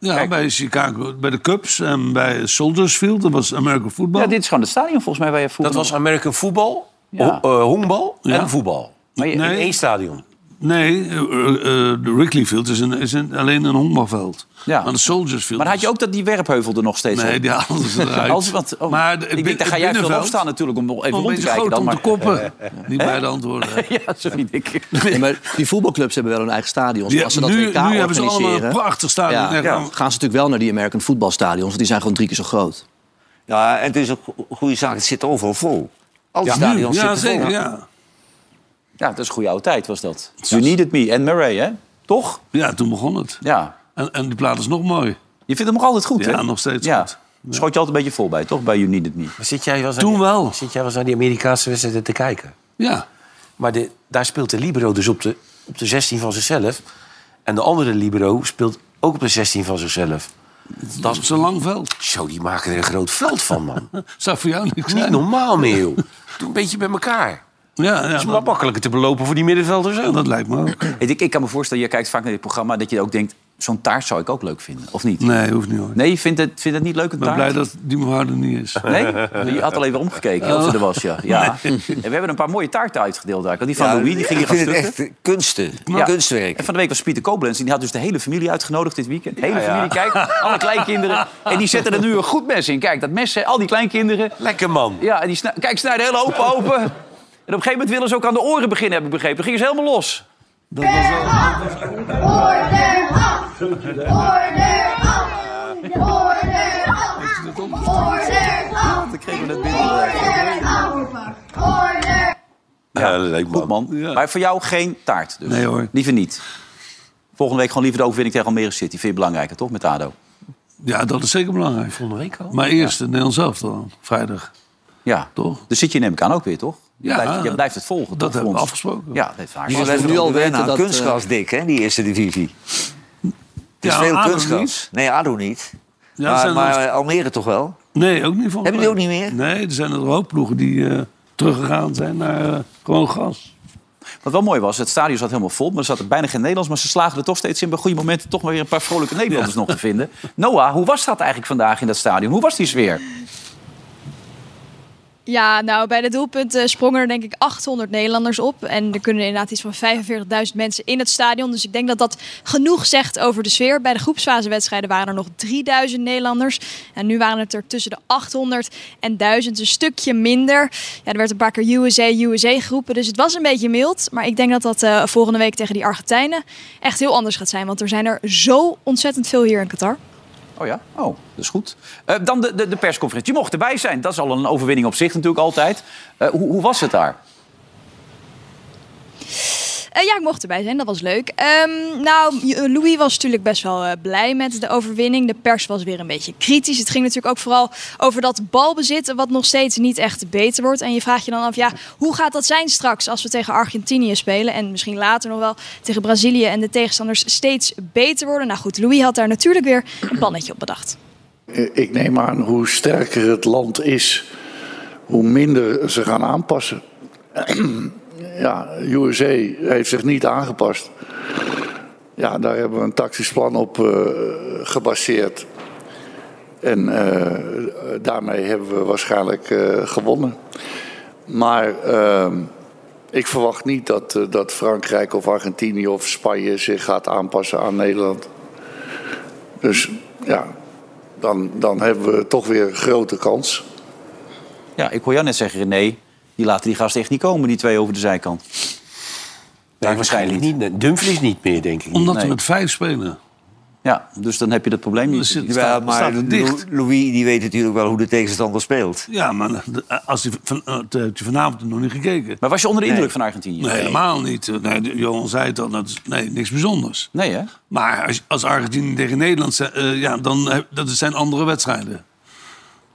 [SPEAKER 6] ja
[SPEAKER 1] Kijk.
[SPEAKER 6] bij Chicago, bij de Cubs en bij Soldiers Field. Dat was American Football.
[SPEAKER 1] ja, dit is gewoon het stadion volgens mij waar je
[SPEAKER 4] Dat
[SPEAKER 1] vroeger...
[SPEAKER 4] was American voetbal,
[SPEAKER 1] Ja.
[SPEAKER 4] ho- eh, honkbal
[SPEAKER 6] Ja.
[SPEAKER 4] en voetbal.
[SPEAKER 1] Maar je-
[SPEAKER 4] In
[SPEAKER 6] Nee.
[SPEAKER 4] één stadion.
[SPEAKER 6] Nee, eh, eh, de Wrigley Field is, een, is een, alleen een honkbalveld.
[SPEAKER 1] Ja.
[SPEAKER 6] Maar de Soldiers Field...
[SPEAKER 1] Maar dan had je ook dat die werpheuvel er nog steeds
[SPEAKER 6] Nee,
[SPEAKER 1] had?
[SPEAKER 6] die haalden
[SPEAKER 1] *laughs*
[SPEAKER 6] ze eruit.
[SPEAKER 1] Als, want, oh,
[SPEAKER 6] de-
[SPEAKER 1] ik denk, daar ga
[SPEAKER 6] het
[SPEAKER 1] jij veel
[SPEAKER 6] binnenveld-
[SPEAKER 1] op staan natuurlijk, om nog even
[SPEAKER 6] Een
[SPEAKER 1] rond te
[SPEAKER 6] beetje
[SPEAKER 1] kijken.
[SPEAKER 6] groot
[SPEAKER 1] Dan,
[SPEAKER 6] om te
[SPEAKER 1] maar,
[SPEAKER 6] koppen. *laughs* Niet bij de antwoorden.
[SPEAKER 1] *laughs* ja, sorry, Dick.
[SPEAKER 2] Nee, maar die voetbalclubs hebben wel hun eigen stadions.
[SPEAKER 6] Die-
[SPEAKER 2] maar als ze dat
[SPEAKER 6] nu-
[SPEAKER 2] WK
[SPEAKER 6] nu hebben ze allemaal een
[SPEAKER 2] organiseren,
[SPEAKER 6] prachtig stadion.
[SPEAKER 2] Ja,
[SPEAKER 6] Echt,
[SPEAKER 2] ja,
[SPEAKER 6] nou-
[SPEAKER 2] gaan ze natuurlijk wel naar die American voetbalstadions... want die zijn gewoon drie keer zo groot.
[SPEAKER 5] ja, en het is ook een goede zaak. Het zit overal vol. Al die
[SPEAKER 6] Nu?
[SPEAKER 5] stadions
[SPEAKER 6] Ja,
[SPEAKER 5] zitten
[SPEAKER 6] zeker,
[SPEAKER 5] vol.
[SPEAKER 6] ja.
[SPEAKER 1] Ja, dat is een goede oude tijd, was dat. You needed me en Murray, hè? Toch?
[SPEAKER 6] Ja, toen begon het.
[SPEAKER 1] Ja.
[SPEAKER 6] En, en die plaat is nog mooi.
[SPEAKER 1] Je vindt hem nog altijd goed,
[SPEAKER 6] Ja,
[SPEAKER 1] hè?
[SPEAKER 6] nog steeds
[SPEAKER 1] ja.
[SPEAKER 6] goed.
[SPEAKER 1] Schoot je altijd een beetje vol bij, toch? Bij You needed me.
[SPEAKER 4] Maar Zit jij wel eens aan
[SPEAKER 6] Toen
[SPEAKER 4] die-
[SPEAKER 6] wel.
[SPEAKER 4] Zit jij wel eens naar die Amerikaanse wedstrijden te kijken?
[SPEAKER 6] Ja.
[SPEAKER 4] Maar de, daar speelt de libero dus op de, op de 16 van zichzelf. En de andere libero speelt ook op de 16 van zichzelf.
[SPEAKER 6] Dat is een lang veld. *laughs*
[SPEAKER 4] Zo, die maken er een groot veld van, *laughs* man.
[SPEAKER 6] Zou voor jou niks
[SPEAKER 4] Niet
[SPEAKER 6] zijn.
[SPEAKER 4] normaal meer, *laughs* joh. Doe een beetje bij elkaar.
[SPEAKER 6] Ja, ja
[SPEAKER 4] Het is maar
[SPEAKER 6] dat,
[SPEAKER 4] makkelijker te belopen voor die middenvelders ook.
[SPEAKER 6] dat lijkt me ook.
[SPEAKER 1] *clears throat* Hey, Dick, ik kan me voorstellen, je kijkt vaak naar dit programma... dat je ook denkt, zo'n taart zou ik ook leuk vinden, of niet?
[SPEAKER 6] Nee, hoeft niet hoor.
[SPEAKER 1] Nee, je vindt het, vindt het niet leuk, een
[SPEAKER 6] Ik ben
[SPEAKER 1] taart?
[SPEAKER 6] blij dat die mevrouw er niet is.
[SPEAKER 1] Nee? Je had al even omgekeken of ze er was, ja.
[SPEAKER 6] *laughs*
[SPEAKER 1] ja. En we hebben een paar mooie taarten uitgedeeld eigenlijk. Want Die van
[SPEAKER 5] Ja,
[SPEAKER 1] Louis, die ging
[SPEAKER 5] ik
[SPEAKER 1] hier gaan
[SPEAKER 5] vind het
[SPEAKER 1] stukken.
[SPEAKER 5] echt eh, kunsten.
[SPEAKER 1] Ja.
[SPEAKER 5] Kunstwerk.
[SPEAKER 1] En van de week was Pieter Koblenz. en Die had dus de hele familie uitgenodigd dit weekend. De hele familie, kijk, alle *laughs* kleinkinderen. En die zetten er nu een goed mes in. Kijk, dat mes, hè, al die kleinkinderen.
[SPEAKER 4] Lekker, man.
[SPEAKER 1] Ja, en die sni- kijk, snijden hele hoop open. En op een gegeven moment willen ze ook aan de oren beginnen, heb ik begrepen. Dan gingen ze helemaal los.
[SPEAKER 8] Order up! Order up! Order up! Order up!
[SPEAKER 1] Dan kregen we het
[SPEAKER 8] Order up! Order
[SPEAKER 1] Ja,
[SPEAKER 4] leuk,
[SPEAKER 1] Goed man.
[SPEAKER 6] Ja.
[SPEAKER 1] Maar voor jou geen taart dus?
[SPEAKER 6] Nee, hoor.
[SPEAKER 1] Liever niet. Volgende week gewoon liever de overwinning tegen Almere City. Vind je belangrijker, toch, met ADO?
[SPEAKER 6] Ja, dat is zeker belangrijk.
[SPEAKER 4] Volgende week al.
[SPEAKER 6] Maar eerst het Nederlands elftal, dan, vrijdag.
[SPEAKER 1] Ja.
[SPEAKER 6] Toch?
[SPEAKER 1] Dus zit je neem ik aan ook weer, toch? Je,
[SPEAKER 6] Ja,
[SPEAKER 1] blijft, je
[SPEAKER 6] dat-
[SPEAKER 1] blijft het volgen.
[SPEAKER 6] dat
[SPEAKER 1] toch,
[SPEAKER 6] hebben we
[SPEAKER 1] voor ons?
[SPEAKER 6] afgesproken.
[SPEAKER 1] Ja, dat heeft vaak.
[SPEAKER 5] Die
[SPEAKER 2] we
[SPEAKER 5] zijn
[SPEAKER 2] nu
[SPEAKER 5] nu
[SPEAKER 2] al
[SPEAKER 5] al
[SPEAKER 2] weten
[SPEAKER 5] weten
[SPEAKER 2] dat, eh,
[SPEAKER 5] kunstgras dik, hè, die eerste divisie. Het is
[SPEAKER 6] Ja,
[SPEAKER 5] veel
[SPEAKER 6] ADO
[SPEAKER 5] kunstgras.
[SPEAKER 6] niet.
[SPEAKER 5] Nee, ADO niet.
[SPEAKER 6] Ja,
[SPEAKER 5] maar
[SPEAKER 6] zijn
[SPEAKER 5] maar
[SPEAKER 6] er-
[SPEAKER 5] Almere toch wel?
[SPEAKER 6] Nee, ook niet van.
[SPEAKER 5] Hebben jullie ook niet meer?
[SPEAKER 6] Nee, er zijn er een hoop ploegen die eh, teruggegaan zijn naar eh, gewoon gas.
[SPEAKER 1] Wat wel mooi was, het stadion zat helemaal vol. Maar er zaten bijna geen Nederlands. Maar ze slagen er toch steeds in bij goede momenten... toch maar weer een paar vrolijke Nederlanders nog te vinden. Noah, hoe was dat eigenlijk vandaag in dat stadion? Hoe was die sfeer?
[SPEAKER 9] Ja, nou, bij de doelpunten sprongen er denk ik 800 Nederlanders op. En er kunnen inderdaad iets van 45.000 mensen in het stadion. Dus ik denk dat dat genoeg zegt over de sfeer. Bij de groepsfasewedstrijden waren er nog 3000 Nederlanders. En nu waren het er tussen de 800 en 1000, een stukje minder. Ja, er werd een paar keer USA, USA geroepen. Dus het was een beetje mild. Maar ik denk dat dat eh, volgende week tegen die Argentijnen echt heel anders gaat zijn. Want er zijn er zo ontzettend veel hier in Qatar.
[SPEAKER 1] Oh ja? Oh, dat is goed. Eh, dan de, de, de persconferentie. Je mocht erbij zijn. Dat is al een overwinning op zich natuurlijk altijd. Eh, hoe, hoe was het daar?
[SPEAKER 9] Eh, ja, ik mocht erbij zijn, dat was leuk. Ehm, nou, Louis was natuurlijk best wel eh, blij met de overwinning. De pers was weer een beetje kritisch. Het ging natuurlijk ook vooral over dat balbezit, eh, wat nog steeds niet echt beter wordt. En je vraagt je dan af, ja, hoe gaat dat zijn straks als we tegen Argentinië spelen? En misschien later nog wel tegen Brazilië en de tegenstanders steeds beter worden. Nou goed, Louis had daar natuurlijk weer een pannetje op bedacht.
[SPEAKER 10] Eh, Ik neem aan hoe sterker het land is, hoe minder ze gaan aanpassen. *clears throat* ja, USA heeft zich niet aangepast. Ja, daar hebben we een tactisch plan op eh, gebaseerd. En eh, daarmee hebben we waarschijnlijk eh, gewonnen. Maar ehm, ik verwacht niet dat, eh, dat Frankrijk of Argentinië of Spanje zich gaat aanpassen aan Nederland. Dus ja, dan, dan hebben we toch weer een grote kans.
[SPEAKER 1] Ja, ik hoor jou net zeggen, René. Die laten die gasten echt niet komen, die twee over de zijkant.
[SPEAKER 4] Nee, waarschijnlijk niet. Nee, Dumfries niet meer, denk ik.
[SPEAKER 6] Omdat
[SPEAKER 1] Nee.
[SPEAKER 6] we met vijf spelen.
[SPEAKER 1] Ja, dus dan heb je dat probleem
[SPEAKER 6] Er
[SPEAKER 1] niet.
[SPEAKER 6] zit,
[SPEAKER 5] Ja,
[SPEAKER 6] staat,
[SPEAKER 5] maar
[SPEAKER 6] staat er dicht.
[SPEAKER 5] Lou- Louis die weet natuurlijk wel hoe de tegenstander speelt.
[SPEAKER 6] Ja, maar de- als die, van, eh, dat heb je vanavond nog niet gekeken.
[SPEAKER 1] Maar was je onder de indruk van Argentinië?
[SPEAKER 6] Nee, helemaal niet. Eh, Nee, de- Johan zei het al, dat is, nee, niks bijzonders.
[SPEAKER 1] Nee, hè?
[SPEAKER 6] Maar als, als Argentinië tegen Nederland, zijn, eh, ja, dan heb- dat zijn andere wedstrijden.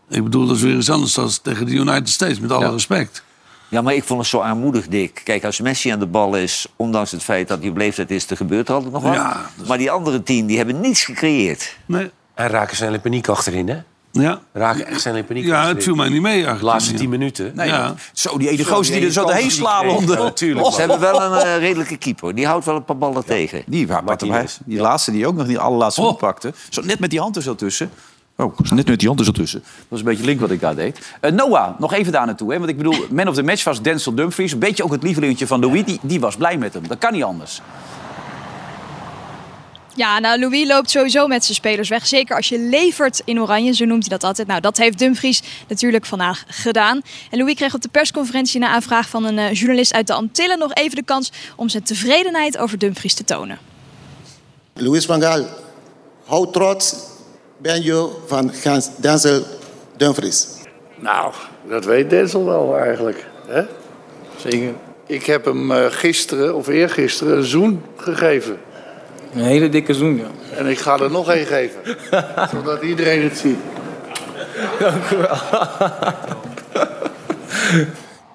[SPEAKER 6] Ik bedoel, dat is weer iets anders dan tegen de United States, met alle respect.
[SPEAKER 5] Ja, maar ik vond het zo armoedig, Dick. Kijk, als Messi aan de bal is, ondanks het feit dat hij op leeftijd is, er gebeurt er altijd nog wat.
[SPEAKER 6] Ja, dat is-
[SPEAKER 5] Maar die andere tien, die hebben niets gecreëerd.
[SPEAKER 6] Nee,
[SPEAKER 4] En raken snel in paniek achterin, hè?
[SPEAKER 6] ja.
[SPEAKER 4] Raken echt snel in paniek
[SPEAKER 6] ja,
[SPEAKER 4] achterin.
[SPEAKER 6] het viel mij niet mee, Argentinië.
[SPEAKER 4] De laatste tien minuten.
[SPEAKER 1] Nee.
[SPEAKER 6] Ja.
[SPEAKER 1] Zo, die ene gozer die er zo doorheen slaan. om de- *laughs*
[SPEAKER 4] Natuurlijk.
[SPEAKER 5] Ze hebben wel een eh, redelijke keeper. Die houdt wel een paar ballen tegen.
[SPEAKER 1] Die, waar, wat erbij,
[SPEAKER 4] Martinez.
[SPEAKER 1] die laatste die ook nog niet allerlaatste
[SPEAKER 6] Oh.
[SPEAKER 1] goed pakte. Zo, net met die hand er zo tussen. Oh, net met die hand er zo tussen. Dat was een beetje link wat ik daar deed. Eh, Noah, nog even daar naartoe. Hè? Want ik bedoel, man of the match was Denzel Dumfries. Een beetje ook het lievelingetje van Louis. Die, die was blij met hem. Dat kan niet anders.
[SPEAKER 9] Ja, nou, Louis loopt sowieso met zijn spelers weg. Zeker als je levert in oranje, zo noemt hij dat altijd. Nou, dat heeft Dumfries natuurlijk vandaag gedaan. En Louis kreeg op de persconferentie na aanvraag van een eh, journalist uit de Antillen nog even de kans om zijn tevredenheid over Dumfries te tonen.
[SPEAKER 11] Louis van Gaal, hoe trots ben je van Hans Denzel Dumfries?
[SPEAKER 10] Nou, dat weet Denzel wel eigenlijk. Hè? Zeker. Ik heb hem eh, gisteren of eergisteren een zoen gegeven.
[SPEAKER 7] Een hele dikke zoen, ja.
[SPEAKER 10] En ik ga er nog één geven. Zodat iedereen het ziet.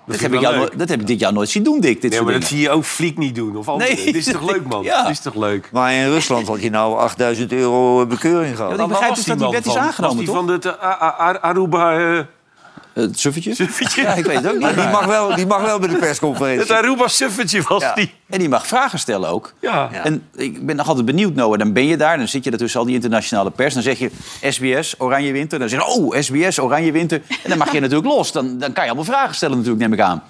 [SPEAKER 1] Dat heb, ik jou, nooit- dat heb ik dit jaar nooit zien doen, Dick. Dit
[SPEAKER 4] Nee,
[SPEAKER 1] soort
[SPEAKER 4] maar dat
[SPEAKER 1] dingen.
[SPEAKER 4] zie je ook Fliek niet doen. Of nee.
[SPEAKER 1] Nee.
[SPEAKER 4] Dit is toch leuk,
[SPEAKER 6] *laughs*
[SPEAKER 4] man?
[SPEAKER 1] Ja.
[SPEAKER 4] Dit is toch leuk?
[SPEAKER 5] Maar in Rusland had je nou 8000 euro bekeuring gehad.
[SPEAKER 1] Ja, die- begrijp dus
[SPEAKER 4] Waar
[SPEAKER 1] dat
[SPEAKER 4] was
[SPEAKER 1] die
[SPEAKER 4] man
[SPEAKER 1] wet is
[SPEAKER 4] van?
[SPEAKER 1] aangenomen,
[SPEAKER 4] Was die van het eh, A- A- A- Aruba... eh,
[SPEAKER 1] Eh, Het suffertje?
[SPEAKER 4] Suffertje.
[SPEAKER 1] Ja, ik weet het ook
[SPEAKER 5] Maar
[SPEAKER 1] niet.
[SPEAKER 5] die mag wel, die mag wel bij de
[SPEAKER 4] Het
[SPEAKER 5] persconferentie.
[SPEAKER 4] Aruba suffertje was
[SPEAKER 5] Ja.
[SPEAKER 4] die.
[SPEAKER 1] En die mag vragen stellen ook.
[SPEAKER 4] Ja.
[SPEAKER 1] En ik ben nog altijd benieuwd, Noah. Dan ben je daar, dan zit je er tussen al die internationale pers. Dan zeg je SBS, Oranje Winter. Dan zeg je, oh, SBS, Oranje Winter. En dan mag je *laughs* natuurlijk los. Dan, dan kan je allemaal vragen stellen natuurlijk, neem ik aan.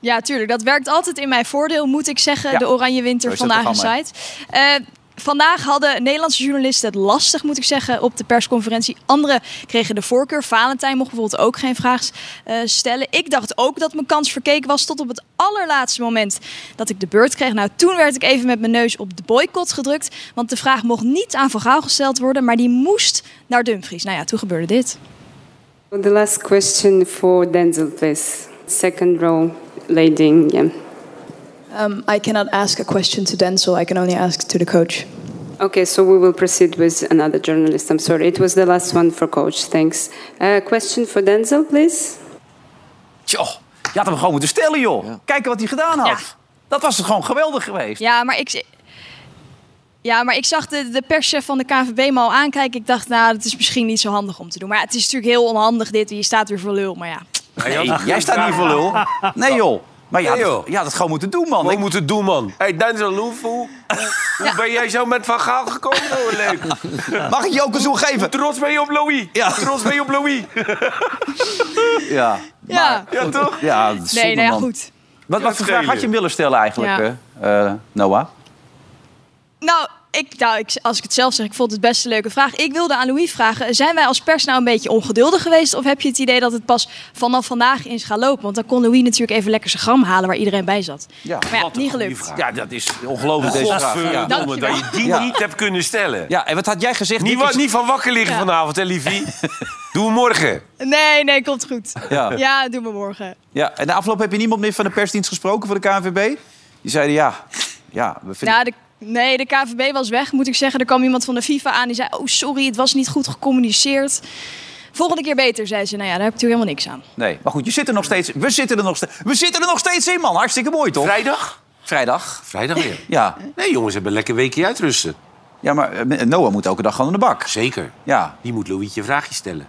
[SPEAKER 9] Ja, tuurlijk. Dat werkt altijd in mijn voordeel, moet ik zeggen.
[SPEAKER 1] Ja.
[SPEAKER 9] De Oranje Winter
[SPEAKER 1] Zo is
[SPEAKER 9] van de
[SPEAKER 1] dat
[SPEAKER 9] eigen
[SPEAKER 1] programma.
[SPEAKER 9] site. Eh, vandaag hadden Nederlandse journalisten het lastig, moet ik zeggen, op de persconferentie. Anderen kregen de voorkeur. Valentijn mocht bijvoorbeeld ook geen vraag eh, stellen. Ik dacht ook dat mijn kans verkeken was tot op het allerlaatste moment dat ik de beurt kreeg. Nou, toen werd ik even met mijn neus op de boycott gedrukt. Want de vraag mocht niet aan Van Gaal gesteld worden, maar die moest naar Dumfries. Nou ja, toen gebeurde dit.
[SPEAKER 11] The last question for Denzel, please.
[SPEAKER 12] second row, leading. Yeah.
[SPEAKER 9] Um, I cannot ask a question to Denzel. I can only ask to the coach.
[SPEAKER 12] Okay, so we will proceed with another journalist. I'm sorry, it was the last one for coach. Thanks. Uh, question for Denzel, please.
[SPEAKER 1] Tjoh, je had hem gewoon moeten stellen, joh. Kijken wat hij gedaan had. Dat was toch gewoon geweldig geweest.
[SPEAKER 9] Ja, maar ik, ja, maar ik zag de, de perschef van de KVB me al aankijken. Ik dacht, nou, dat is misschien niet zo handig om te doen. Maar ja, het is natuurlijk heel onhandig dit. Je staat weer voor lul, maar ja.
[SPEAKER 1] Nee, jij staat niet voor lul. Nee, joh. Maar ja, dat, ja, dat gewoon moeten doen, man.
[SPEAKER 4] We moeten doen, man. hey, Denzel, hoe, hoe, *laughs* hoe ben jij zo met Van Gaal gekomen? *laughs* Oh, leuk.
[SPEAKER 1] Mag ik je ook een zoen geven?
[SPEAKER 4] Trots ben je op Louis.
[SPEAKER 1] Ja.
[SPEAKER 4] Trots ben je op Louis.
[SPEAKER 1] Ja.
[SPEAKER 9] Ja.
[SPEAKER 4] Ja, toch?
[SPEAKER 1] Ja,
[SPEAKER 9] Nee,
[SPEAKER 1] zonde,
[SPEAKER 9] nou ja,
[SPEAKER 1] man.
[SPEAKER 9] goed.
[SPEAKER 1] Wat, wat voor vraag had je hem willen stellen eigenlijk, eh, eh, Noah?
[SPEAKER 9] Nou, ik, nou ik, als ik het zelf zeg, ik vond het best een leuke vraag. Ik wilde aan Louis vragen, zijn wij als pers nou een beetje ongeduldig geweest? Of heb je het idee dat het pas vanaf vandaag eens gaat lopen? Want dan kon Louis natuurlijk even lekker zijn gram halen waar iedereen bij zat.
[SPEAKER 1] Ja,
[SPEAKER 9] maar ja, niet gelukt.
[SPEAKER 1] Ja, dat is ongelooflijk deze vraag. Ja.
[SPEAKER 4] Godverdomme, dat je die
[SPEAKER 1] Ja.
[SPEAKER 4] niet hebt kunnen stellen.
[SPEAKER 1] ja, en wat had jij gezegd?
[SPEAKER 4] Niet,
[SPEAKER 1] Dit
[SPEAKER 4] wa-
[SPEAKER 1] is-
[SPEAKER 4] niet van wakker liggen vanavond, hè, *laughs* liefie? Doe we morgen.
[SPEAKER 9] Nee, nee, komt goed.
[SPEAKER 1] Ja.
[SPEAKER 9] ja doen we morgen.
[SPEAKER 1] Ja, en de afloop heb je niemand meer van de persdienst gesproken voor de KNVB? Die zeiden ja, ja we vinden...
[SPEAKER 9] Nou, de, nee, de KVB was weg, moet ik zeggen. Er kwam iemand van de FIFA aan die zei: Oh, sorry, het was niet goed gecommuniceerd. Volgende keer beter, zei ze. Nou ja, daar heb ik natuurlijk helemaal niks aan.
[SPEAKER 1] Nee, maar goed, je zit er nog steeds... We zitten er nog steeds, we zitten er nog steeds in, man. Hartstikke mooi, toch?
[SPEAKER 4] Vrijdag?
[SPEAKER 1] Vrijdag.
[SPEAKER 4] Vrijdag weer.
[SPEAKER 1] Ja.
[SPEAKER 4] *laughs* Nee, jongens, hebben lekker een weekje uitrusten.
[SPEAKER 1] ja, maar eh, Noah moet elke dag gewoon aan de bak.
[SPEAKER 4] Zeker.
[SPEAKER 1] Ja,
[SPEAKER 4] Die moet Louietje een vraagje stellen.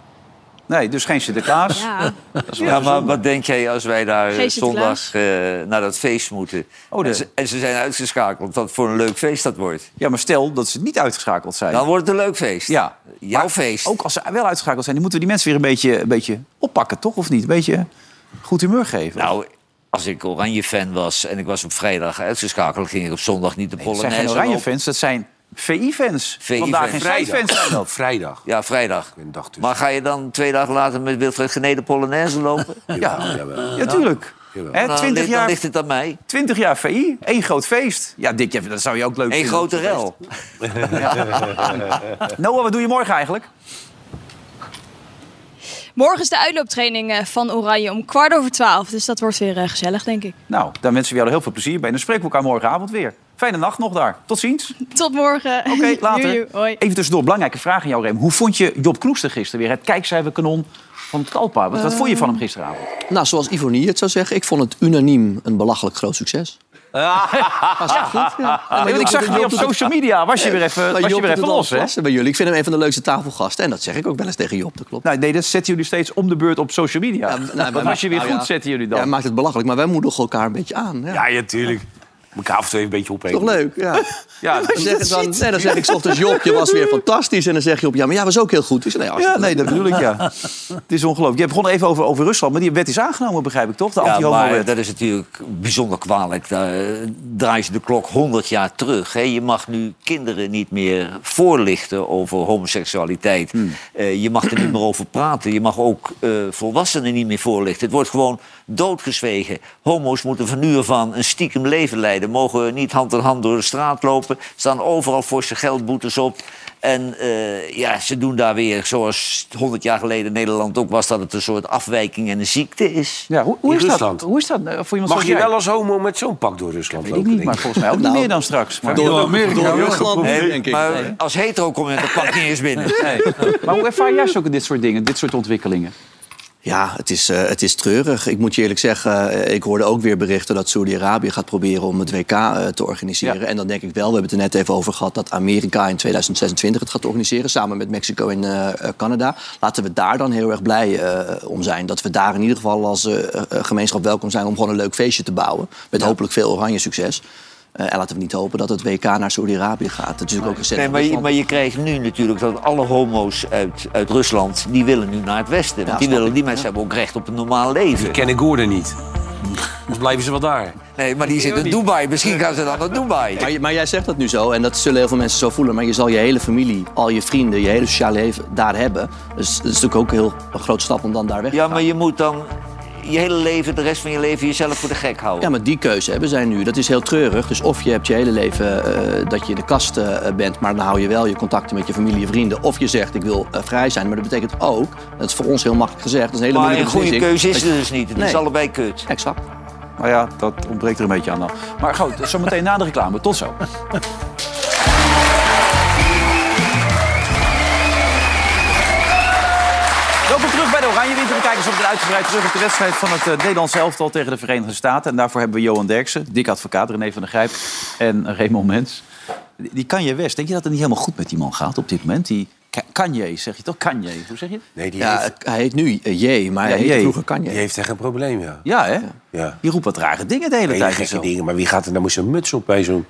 [SPEAKER 1] nee, dus geen Sinterklaas.
[SPEAKER 9] Ja.
[SPEAKER 5] Ja, maar wat denk jij als wij daar eh,
[SPEAKER 9] Geen Sinterklaas.
[SPEAKER 5] zondag eh, naar dat feest moeten?
[SPEAKER 1] Oh, de-
[SPEAKER 5] en, ze, en ze zijn uitgeschakeld. Wat voor een leuk feest dat wordt.
[SPEAKER 1] Ja, maar stel dat ze niet uitgeschakeld zijn.
[SPEAKER 5] Dan wordt het een leuk feest.
[SPEAKER 1] Ja.
[SPEAKER 5] Jouw
[SPEAKER 1] Maar Oh,
[SPEAKER 5] feest.
[SPEAKER 1] Ook als ze wel uitgeschakeld zijn, dan moeten we die mensen weer een beetje, een beetje oppakken, toch? Of niet? Een beetje goed humeur geven.
[SPEAKER 5] Nou, als ik Oranje-fan was en ik was op vrijdag uitgeschakeld... ging ik op zondag niet de
[SPEAKER 1] dat zijn
[SPEAKER 5] Polonaise
[SPEAKER 1] geen oranje
[SPEAKER 5] lopen.
[SPEAKER 1] fans, dat zijn VI-fans.
[SPEAKER 5] VI
[SPEAKER 1] Vandaag
[SPEAKER 5] fans.
[SPEAKER 1] en zij-fans zijn dat.
[SPEAKER 4] Vrijdag.
[SPEAKER 5] Ja, vrijdag.
[SPEAKER 4] Een dag tussen.
[SPEAKER 5] Maar ga je dan twee dagen later met Wilfred Genee de Polonaise lopen?
[SPEAKER 1] Ja,
[SPEAKER 4] Jawel.
[SPEAKER 1] ja tuurlijk.
[SPEAKER 4] Jawel.
[SPEAKER 1] Hè,
[SPEAKER 5] Dan,
[SPEAKER 1] 20,
[SPEAKER 5] ligt- Nou, dan
[SPEAKER 1] jaar,
[SPEAKER 5] ligt het aan mij.
[SPEAKER 1] 20 jaar VI, één groot feest. Ja, Dick, ja, dat zou je ook leuk
[SPEAKER 5] Een
[SPEAKER 1] vinden.
[SPEAKER 5] grote rel.
[SPEAKER 1] Noah, wat doe je morgen eigenlijk?
[SPEAKER 9] Morgen is de uitlooptraining eh, van Oranje om kwart over twaalf. Dus dat wordt weer eh, gezellig, denk ik.
[SPEAKER 1] Nou, daar wensen we jou er heel veel plezier bij. En dan spreken we elkaar morgenavond weer. Fijne nacht nog daar. Tot ziens.
[SPEAKER 9] Tot morgen. Oké, *laughs*
[SPEAKER 1] Oké, later.
[SPEAKER 9] Hoi.
[SPEAKER 1] Even tussendoor, belangrijke vraag aan jou, Rem. Hoe vond je Job Knoester gisteren weer? Het kijkcijferkanon van Talpa. Wat, wat vond je van hem gisteravond?
[SPEAKER 2] Nou, zoals Ivonie het zou zeggen, ik vond het unaniem een belachelijk groot succes. Was het goed? Ja.
[SPEAKER 1] Ja, want ik zag je weer op social media. Was je weer even, was je weer even los, hè?
[SPEAKER 2] Bij jullie. Ik vind hem een van de leukste tafelgasten. En dat zeg ik ook wel eens tegen Job, dat klopt.
[SPEAKER 1] Nou, nee, dat zetten jullie steeds om de beurt op social media.
[SPEAKER 2] Ja, nou, wij
[SPEAKER 1] Want als je weer
[SPEAKER 2] maken-
[SPEAKER 1] goed
[SPEAKER 2] nou ja.
[SPEAKER 1] zetten jullie
[SPEAKER 2] Ja,
[SPEAKER 1] dan.
[SPEAKER 2] hij maakt het belachelijk, maar wij moedigen elkaar een beetje aan. Ja.
[SPEAKER 4] Ja, ja, tuurlijk. Elkaar af en toe even een beetje opeten.
[SPEAKER 2] Toch leuk, ja.
[SPEAKER 1] *laughs* Ja,
[SPEAKER 2] Dan zeg, ik dan, nee, dan zeg ik 's ochtends, Job, je was weer fantastisch. En dan zeg je op, ja, maar jij was ook heel goed. Dus, nee,
[SPEAKER 1] Ja,
[SPEAKER 2] hartstikke
[SPEAKER 1] nee, dat bedoel ik, ja. Het is ongelooflijk. Je begon even over, over Rusland, maar die wet is aangenomen, begrijp ik toch? De
[SPEAKER 5] Ja, maar
[SPEAKER 1] anti-homo-wet.
[SPEAKER 5] dat is natuurlijk bijzonder kwalijk. Daar eh, draai je de klok 100 jaar terug. Hè. Je mag nu kinderen niet meer voorlichten over homoseksualiteit.
[SPEAKER 1] Hmm.
[SPEAKER 5] Eh, je mag er niet meer over praten. Je mag ook eh, volwassenen niet meer voorlichten. Het wordt gewoon doodgezwegen. Homo's moeten van nu af aan een stiekem leven leiden. Mogen niet hand in hand door de straat lopen. Staan overal voor zijn geldboetes op. En eh, ja, ze doen daar weer, zoals 100 jaar geleden in Nederland ook was... dat het een soort afwijking en een ziekte is.
[SPEAKER 1] Ja, hoe, hoe
[SPEAKER 4] in
[SPEAKER 1] is dat?
[SPEAKER 4] Rusland.
[SPEAKER 1] Hoe is dat eh, voor iemand
[SPEAKER 4] Mag
[SPEAKER 1] zoals
[SPEAKER 4] je
[SPEAKER 1] jij?
[SPEAKER 4] wel als homo met zo'n pak door Rusland
[SPEAKER 1] Weet ik
[SPEAKER 4] lopen?
[SPEAKER 1] niet,
[SPEAKER 4] denk
[SPEAKER 1] maar
[SPEAKER 4] ik?
[SPEAKER 1] volgens mij ook niet
[SPEAKER 2] Nou,
[SPEAKER 1] meer dan straks. Maar,
[SPEAKER 6] Door Amerika.
[SPEAKER 2] Door
[SPEAKER 6] wel
[SPEAKER 2] Rusland,
[SPEAKER 6] geprobeerd.
[SPEAKER 2] denk ik.
[SPEAKER 5] Maar
[SPEAKER 2] Nee.
[SPEAKER 5] als hetero kom je dat pak niet eens binnen.
[SPEAKER 1] Nee. maar hoe ervaar jij ook dit soort dingen, dit soort ontwikkelingen?
[SPEAKER 2] Ja, het is, eh, het is treurig. Ik moet je eerlijk zeggen, eh, ik hoorde ook weer berichten dat Saudi-Arabië gaat proberen om het WK eh, te organiseren.
[SPEAKER 1] Ja.
[SPEAKER 2] En dan denk ik wel, we hebben het er net even over gehad, dat Amerika in 2026 het gaat organiseren, samen met Mexico en eh, eh, Canada. Laten we daar dan heel erg blij eh, om zijn. Dat we daar in ieder geval als eh, eh, gemeenschap welkom zijn om gewoon een leuk feestje te bouwen. Met hopelijk veel oranje succes. Eh, en laten we niet hopen dat het WK naar Saudi-Arabië gaat. Het is natuurlijk ook een
[SPEAKER 5] Nee,
[SPEAKER 2] zet-
[SPEAKER 5] maar, je, maar je krijgt nu natuurlijk dat alle homo's uit, uit Rusland... die willen nu naar het Westen. Want die,
[SPEAKER 2] snap
[SPEAKER 5] willen, die mensen hebben ook recht op een normaal leven.
[SPEAKER 4] Ken ik Gordon niet. Dan blijven ze wel daar.
[SPEAKER 5] Nee, maar die zitten in Dubai. Misschien gaan ze dan naar Dubai.
[SPEAKER 2] Maar, je- maar jij zegt dat nu zo, en dat zullen heel veel mensen zo voelen. Maar je zal je hele familie, al je vrienden, je hele sociale leven daar hebben. Dus dat is natuurlijk ook een heel een groot stap om dan daar weg te
[SPEAKER 5] Ja,
[SPEAKER 2] gaan.
[SPEAKER 5] maar je moet dan je hele leven, de rest van je leven, jezelf voor de gek houden.
[SPEAKER 2] Ja, maar die keuze hebben zij nu. Dat is heel treurig. Dus of je hebt je hele leven eh, dat je in de kast eh, bent, maar dan hou je wel je contacten met je familie en vrienden. Of je zegt ik wil eh, vrij zijn. Maar dat betekent ook, dat is voor ons heel makkelijk gezegd, dat is een hele
[SPEAKER 5] maar een
[SPEAKER 2] moeilijke
[SPEAKER 5] goede
[SPEAKER 2] beslissing,
[SPEAKER 5] keuze is
[SPEAKER 2] dat
[SPEAKER 5] er
[SPEAKER 2] je-
[SPEAKER 5] dus niet. Het is
[SPEAKER 2] Nee.
[SPEAKER 5] allebei kut.
[SPEAKER 2] Exact.
[SPEAKER 1] Nou ja, dat ontbreekt er een beetje aan dan. Maar goed, zometeen na de reclame. Tot zo. Welkom terug bij de Oranje Winter. We kijken zo meteen uitgebreid terug op de wedstrijd van het eh, Nederlands elftal tegen de Verenigde Staten. En daarvoor hebben we Johan Derksen, dik advocaat, René van der Grijp en Raymond Mens. Die die Kanye West, denk je dat het niet helemaal goed met die man gaat op dit moment? Die Ka- Kanye, zeg je toch? Kanye, hoe zeg je?
[SPEAKER 4] Nee, die
[SPEAKER 2] Ja,
[SPEAKER 4] heeft,
[SPEAKER 2] hij heet nu eh, J, maar
[SPEAKER 1] Ja,
[SPEAKER 2] hij heette
[SPEAKER 1] J.
[SPEAKER 2] vroeger Kanye.
[SPEAKER 4] die heeft echt een probleem, ja.
[SPEAKER 1] Ja, hè?
[SPEAKER 4] ja.
[SPEAKER 1] Die roept wat rare dingen de hele
[SPEAKER 4] Hele
[SPEAKER 1] tijd. en
[SPEAKER 4] gekke
[SPEAKER 1] zo.
[SPEAKER 4] dingen. Maar wie gaat er nou met zo'n muts op bij zo'n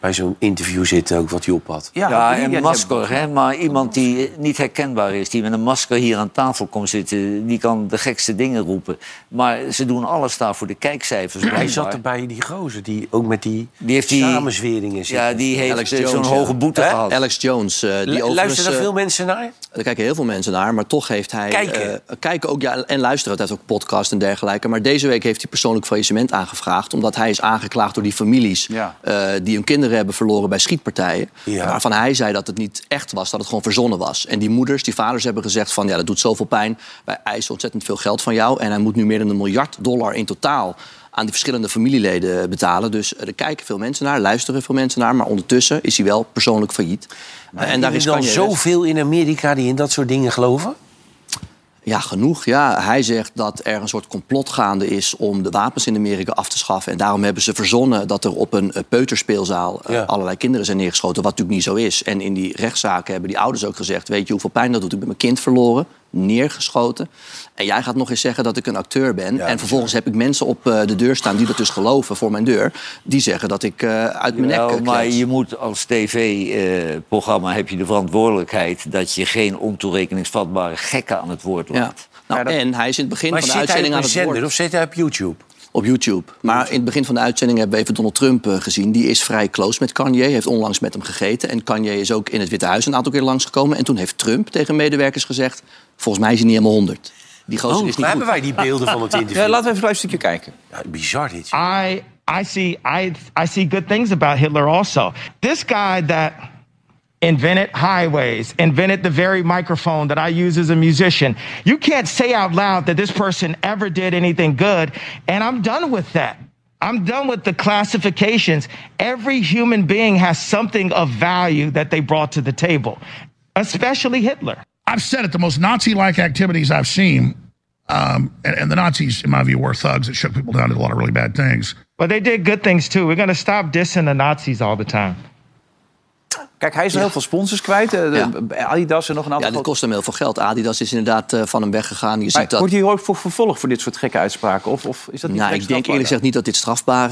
[SPEAKER 4] bij zo'n interview zitten, ook wat hij op had?
[SPEAKER 1] Ja,
[SPEAKER 5] Ja,
[SPEAKER 1] die-
[SPEAKER 5] een
[SPEAKER 1] die-
[SPEAKER 5] masker, hè? maar iemand die niet herkenbaar is, die met een masker hier aan tafel komt zitten, die kan de gekste dingen roepen. Maar ze doen alles daar voor de kijkcijfers.
[SPEAKER 4] Hij
[SPEAKER 5] blijkbaar.
[SPEAKER 4] zat er bij die gozer, die ook met die,
[SPEAKER 5] Die heeft die-
[SPEAKER 4] samenzweringen zit.
[SPEAKER 5] Ja, die
[SPEAKER 2] Alex
[SPEAKER 5] heeft eh,
[SPEAKER 2] Jones,
[SPEAKER 5] zo'n
[SPEAKER 2] ja.
[SPEAKER 5] hoge boete
[SPEAKER 4] Hè?
[SPEAKER 5] gehad.
[SPEAKER 2] Alex Jones, eh, die
[SPEAKER 4] Lu-
[SPEAKER 2] overigens...
[SPEAKER 4] Luisteren er
[SPEAKER 2] eh,
[SPEAKER 4] veel mensen naar?
[SPEAKER 2] Daar kijken heel veel mensen naar, maar toch heeft hij...
[SPEAKER 4] Kijken.
[SPEAKER 2] eh, kijken ook, ja, en luisteren. Hij heeft ook podcast en dergelijke. Maar deze week heeft hij persoonlijk faillissement aangevraagd... omdat hij is aangeklaagd door die families...
[SPEAKER 1] Ja.
[SPEAKER 2] eh, die hun kinderen hebben verloren bij schietpartijen.
[SPEAKER 4] Ja.
[SPEAKER 2] Waarvan hij zei dat het niet echt was, dat het gewoon verzonnen was. En die moeders, die vaders hebben gezegd van... ja, dat doet zoveel pijn, wij eisen ontzettend veel geld van jou... en hij moet nu meer dan een miljard dollar in totaal aan die verschillende familieleden betalen. Dus eh, er kijken veel mensen naar, luisteren veel mensen naar... maar ondertussen is hij wel persoonlijk failliet. Eh, en
[SPEAKER 4] En
[SPEAKER 2] daar is
[SPEAKER 4] dan
[SPEAKER 2] Kanye West-
[SPEAKER 4] zoveel in Amerika die in dat soort dingen geloven?
[SPEAKER 2] Ja, genoeg. Ja. Hij zegt dat er een soort complot gaande is om de wapens in Amerika af te schaffen. En daarom hebben ze verzonnen dat er op een eh, peuterspeelzaal eh,
[SPEAKER 4] Ja.
[SPEAKER 2] allerlei kinderen zijn neergeschoten. Wat natuurlijk niet zo is. En in die rechtszaken hebben die ouders ook gezegd: Weet je hoeveel pijn dat doet? Ik ben mijn kind verloren, neergeschoten. En jij gaat nog eens zeggen dat ik een acteur ben. en vervolgens heb ik mensen op eh, de deur staan die dat dus geloven voor mijn deur. Die zeggen dat ik eh, uit mijn nek.
[SPEAKER 5] Jawel,
[SPEAKER 2] eh,
[SPEAKER 5] maar
[SPEAKER 2] klets.
[SPEAKER 5] je moet als tv-programma heb je de verantwoordelijkheid dat je geen ontoerekeningsvatbare gekken aan het woord laat.
[SPEAKER 2] ja. Nou, en hij is in het begin
[SPEAKER 4] Maar
[SPEAKER 2] van de
[SPEAKER 4] zit hij op
[SPEAKER 2] uitzending aan
[SPEAKER 4] een
[SPEAKER 2] het woord.
[SPEAKER 4] zender of zit hij op YouTube?
[SPEAKER 2] Op YouTube. Maar in het begin van de uitzending hebben we even Donald Trump eh, gezien. Die is vrij close met Kanye, heeft onlangs met hem gegeten. En Kanye is ook in het Witte Huis een aantal keer langsgekomen. En toen heeft Trump tegen medewerkers gezegd... volgens mij is hij niet helemaal 100. Die gozer is niet
[SPEAKER 4] Maar
[SPEAKER 2] goed.
[SPEAKER 4] Oh, hebben wij die beelden *laughs* van het interview?
[SPEAKER 1] Ja, laten we even een klein stukje kijken.
[SPEAKER 4] Ja, bizar dit.
[SPEAKER 7] I I see I I see good things about Hitler also. This guy that invented highways, invented the very microphone that I use as a musician. You can't say out loud that this person ever did anything good, and I'm done with that. I'm done with the classifications. Every human being has something of value that they brought to the table, especially Hitler.
[SPEAKER 13] I've said it, the most Nazi like activities I've seen, um, and, and the Nazis, in my view, were thugs that shook people down, did a lot of really bad things.
[SPEAKER 7] But they did good things too. We're going to stop dissing the Nazis all the time.
[SPEAKER 1] Kijk, hij is er heel veel sponsors kwijt. eh, de- Adidas en nog een aantal
[SPEAKER 2] Ja, dit
[SPEAKER 1] grote-
[SPEAKER 2] kost hem heel veel geld. Adidas is inderdaad eh, van hem weggegaan. Je
[SPEAKER 1] Maar
[SPEAKER 2] ziet dat...
[SPEAKER 1] Wordt hier ook voor vervolgd voor dit soort gekke uitspraken? Of, of is dat niet direct
[SPEAKER 2] Nou, ik denk
[SPEAKER 1] strafbaar
[SPEAKER 2] eerlijk gezegd niet dat dit strafbaar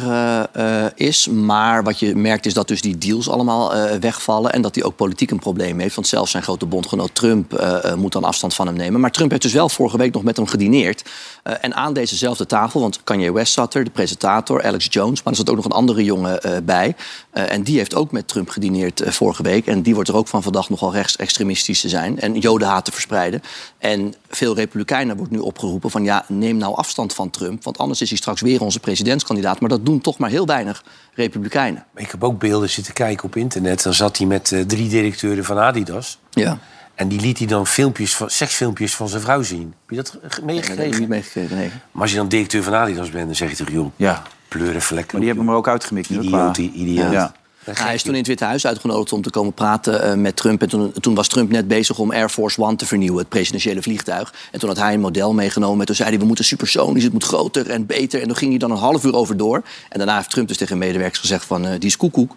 [SPEAKER 2] eh, eh, is. Maar wat je merkt is dat dus die deals allemaal eh, wegvallen. En dat hij ook politiek een probleem heeft. Want zelfs zijn grote bondgenoot Trump eh, eh, moet dan afstand van hem nemen. Maar Trump heeft dus wel vorige week nog met hem gedineerd. Eh, en aan dezezelfde tafel, want Kanye West zat er, de presentator, Alex Jones. Maar er zat ook nog een andere jongen eh, bij. Eh, en die heeft ook met Trump gedineerd eh, vorige week. En die wordt er ook van verdacht nogal rechtsextremistisch te zijn. En jodenhaat te verspreiden. En veel republikeinen wordt nu opgeroepen van... ja, neem nou afstand van Trump. Want anders is hij straks weer onze presidentskandidaat. Maar dat doen toch maar heel weinig republikeinen.
[SPEAKER 4] Ik heb ook beelden zitten kijken op internet. Dan zat hij met eh, drie directeuren van Adidas.
[SPEAKER 2] Ja.
[SPEAKER 4] En die liet hij dan filmpjes van, seksfilmpjes van zijn vrouw zien. Heb je dat ge-
[SPEAKER 2] Dat heb ik
[SPEAKER 4] meegekregen?
[SPEAKER 2] niet meegekregen, nee.
[SPEAKER 4] Maar als je dan directeur van Adidas bent, dan zeg je toch... joh,
[SPEAKER 1] Ja,
[SPEAKER 4] pleurenvlek.
[SPEAKER 1] maar die hebben hem er ook uitgemikt. nu, qua-
[SPEAKER 4] Idioot, die idioot.
[SPEAKER 1] Ja.
[SPEAKER 2] Hij is toen in het Witte Huis uitgenodigd om te komen praten eh, met Trump. En toen, toen was Trump net bezig om Air Force One te vernieuwen, het presidentiële vliegtuig. En toen had hij een model meegenomen. En toen zei hij, we moeten supersonisch, het moet groter en beter. En toen ging hij dan een half uur over door. En daarna heeft Trump dus tegen medewerkers gezegd van, eh, die is koekoek.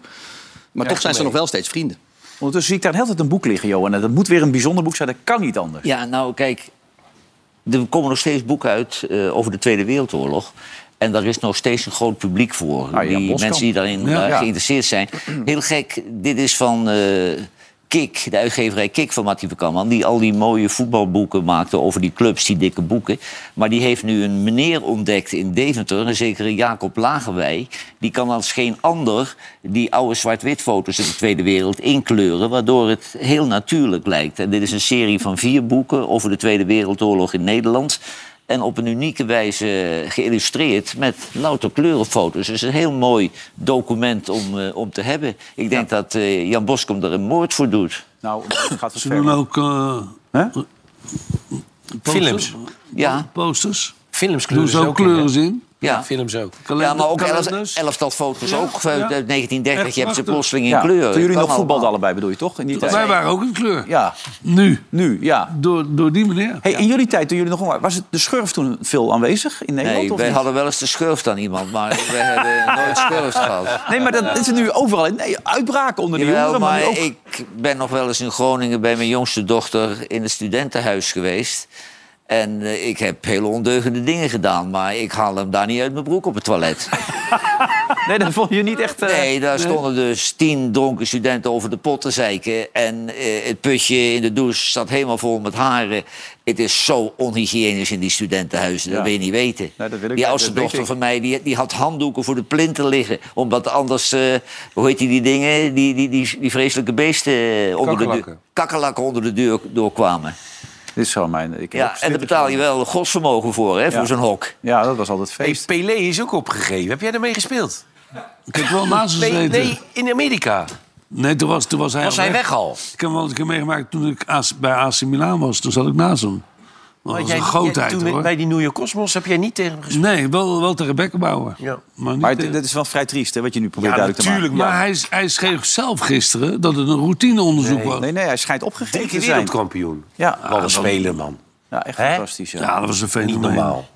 [SPEAKER 2] Maar toch zijn ze nog wel steeds vrienden.
[SPEAKER 1] Ondertussen zie ik daar heel tijd een boek liggen, Johan. En dat moet weer een bijzonder boek zijn, dat kan niet anders.
[SPEAKER 5] Ja, nou kijk, er komen nog steeds boeken uit eh, over de Tweede Wereldoorlog. En daar is nog steeds een groot publiek voor.
[SPEAKER 1] Ah, ja,
[SPEAKER 5] die
[SPEAKER 1] Boskamp.
[SPEAKER 5] mensen die daarin
[SPEAKER 1] Ja.
[SPEAKER 5] eh,
[SPEAKER 1] Ja.
[SPEAKER 5] geïnteresseerd zijn. Heel gek, dit is van eh Kik, de uitgeverij Kik van Mattie Verkamman... die al die mooie voetbalboeken maakte over die clubs, die dikke boeken. Maar die heeft nu een meneer ontdekt in Deventer, een zekere Jacob Lagerwij. Die kan als geen ander die oude zwart-wit foto's uit de Tweede Wereld inkleuren... waardoor het heel natuurlijk lijkt. En dit is een serie van vier boeken over de Tweede Wereldoorlog in Nederland... En op een unieke wijze geïllustreerd met louter kleurenfoto's. Dus een heel mooi document om, eh, om te hebben. Ik denk dat eh, Jan Boskom er een moord voor doet.
[SPEAKER 1] Nou, gaat
[SPEAKER 6] Ze doen ook... eh, posters?
[SPEAKER 5] Films. Ja.
[SPEAKER 6] Posters.
[SPEAKER 4] Films
[SPEAKER 6] Doen ze ook kleuren in?
[SPEAKER 5] Ja.
[SPEAKER 4] films ook.
[SPEAKER 5] ja, maar ook elf,
[SPEAKER 6] kalenders.
[SPEAKER 5] elftal foto's ook uit
[SPEAKER 6] ja.
[SPEAKER 5] 1930.
[SPEAKER 6] Echt
[SPEAKER 5] je hebt ze
[SPEAKER 6] prachtig.
[SPEAKER 5] plotseling in
[SPEAKER 1] Ja,
[SPEAKER 5] kleuren.
[SPEAKER 1] Toen jullie
[SPEAKER 5] Kan
[SPEAKER 1] nog voetbalden
[SPEAKER 5] allemaal.
[SPEAKER 1] allebei, bedoel je toch? In die tijd?
[SPEAKER 6] Wij waren ook in kleur.
[SPEAKER 1] Ja,
[SPEAKER 6] Nu.
[SPEAKER 1] nu, ja.
[SPEAKER 6] Door, door die meneer.
[SPEAKER 1] Hey, In jullie tijd, toen jullie nog... jong waren, Was het de schurf toen veel aanwezig in Nederland?
[SPEAKER 5] Nee,
[SPEAKER 1] of
[SPEAKER 5] wij
[SPEAKER 1] niet?
[SPEAKER 5] hadden wel eens de schurft aan iemand, maar we hebben nooit schurft gehad.
[SPEAKER 1] Nee, maar dat is er nu overal. in. Nee, uitbraken onder de
[SPEAKER 5] Jawel,
[SPEAKER 1] jongeren, maar,
[SPEAKER 5] maar
[SPEAKER 1] nu ook...
[SPEAKER 5] ik ben nog wel eens in Groningen bij mijn jongste dochter in het studentenhuis geweest. En eh, ik heb hele ondeugende dingen gedaan, maar ik haal hem daar niet uit mijn broek op het toilet.
[SPEAKER 1] Nee, dat vond je niet echt... eh, *laughs*
[SPEAKER 5] Nee, daar stonden dus tien dronken studenten over de pot te zeiken. En eh, het putje in de douche zat helemaal vol met haren. Het is zo onhygiënisch in die studentenhuizen, dat
[SPEAKER 1] Ja.
[SPEAKER 5] wil je niet weten.
[SPEAKER 1] Nee, dat wil ik niet,
[SPEAKER 5] die oudste
[SPEAKER 1] dat weet
[SPEAKER 5] dochter
[SPEAKER 1] ik.
[SPEAKER 5] van mij die, die had handdoeken voor de plinten liggen. Omdat anders, eh, hoe heet die, die dingen, die, die, die, die vreselijke beesten eh, onder de deur,
[SPEAKER 4] Kakkerlakken.
[SPEAKER 5] kakkerlakken onder de deur doorkwamen.
[SPEAKER 1] Dit is zo mijn... Ik heb ook
[SPEAKER 5] Ja, en daar
[SPEAKER 1] zitten-
[SPEAKER 5] betaal je wel godsvermogen voor, hè, voor zo'n hok.
[SPEAKER 1] Ja, dat was altijd
[SPEAKER 4] Hey,
[SPEAKER 1] feest.
[SPEAKER 4] Pelé is ook opgegeven. Heb jij daarmee gespeeld?
[SPEAKER 6] Ik heb wel naast ze
[SPEAKER 4] Nee,
[SPEAKER 6] gezeten.
[SPEAKER 4] nee, in Amerika.
[SPEAKER 6] Nee, toen was, toen was hij
[SPEAKER 4] Was
[SPEAKER 6] al
[SPEAKER 4] hij weg al?
[SPEAKER 6] Ik heb hem wel eens een keer meegemaakt toen ik AC bij AC Milan was. Toen zat ik naast hem. Dat was
[SPEAKER 4] Want jij-
[SPEAKER 6] een
[SPEAKER 4] jij-
[SPEAKER 6] grootheid,
[SPEAKER 4] toen
[SPEAKER 6] hoor.
[SPEAKER 4] Bij die New York Cosmos heb jij niet tegen hem gespeeld.
[SPEAKER 6] Nee, wel, wel tegen Beckenbauer.
[SPEAKER 4] Ja.
[SPEAKER 6] Maar, niet
[SPEAKER 1] Maar
[SPEAKER 6] tegen-
[SPEAKER 1] dit dit is wel vrij triest, hè, wat je nu probeert
[SPEAKER 4] Ja,
[SPEAKER 1] duidelijk te maken.
[SPEAKER 4] natuurlijk,
[SPEAKER 6] maar
[SPEAKER 4] man.
[SPEAKER 6] hij, hij schreef zelf gisteren dat het een routineonderzoek was.
[SPEAKER 1] Nee, nee, hij schijnt opgegeven
[SPEAKER 4] Dikke
[SPEAKER 1] te zijn.
[SPEAKER 4] wereldkampioen.
[SPEAKER 1] Ja. Ah,
[SPEAKER 4] Wat een speler, man.
[SPEAKER 1] Ja, echt
[SPEAKER 4] Hè?
[SPEAKER 1] fantastisch. Ja.
[SPEAKER 6] Ja, dat was een
[SPEAKER 4] Niet
[SPEAKER 6] fenomeen.
[SPEAKER 4] normaal.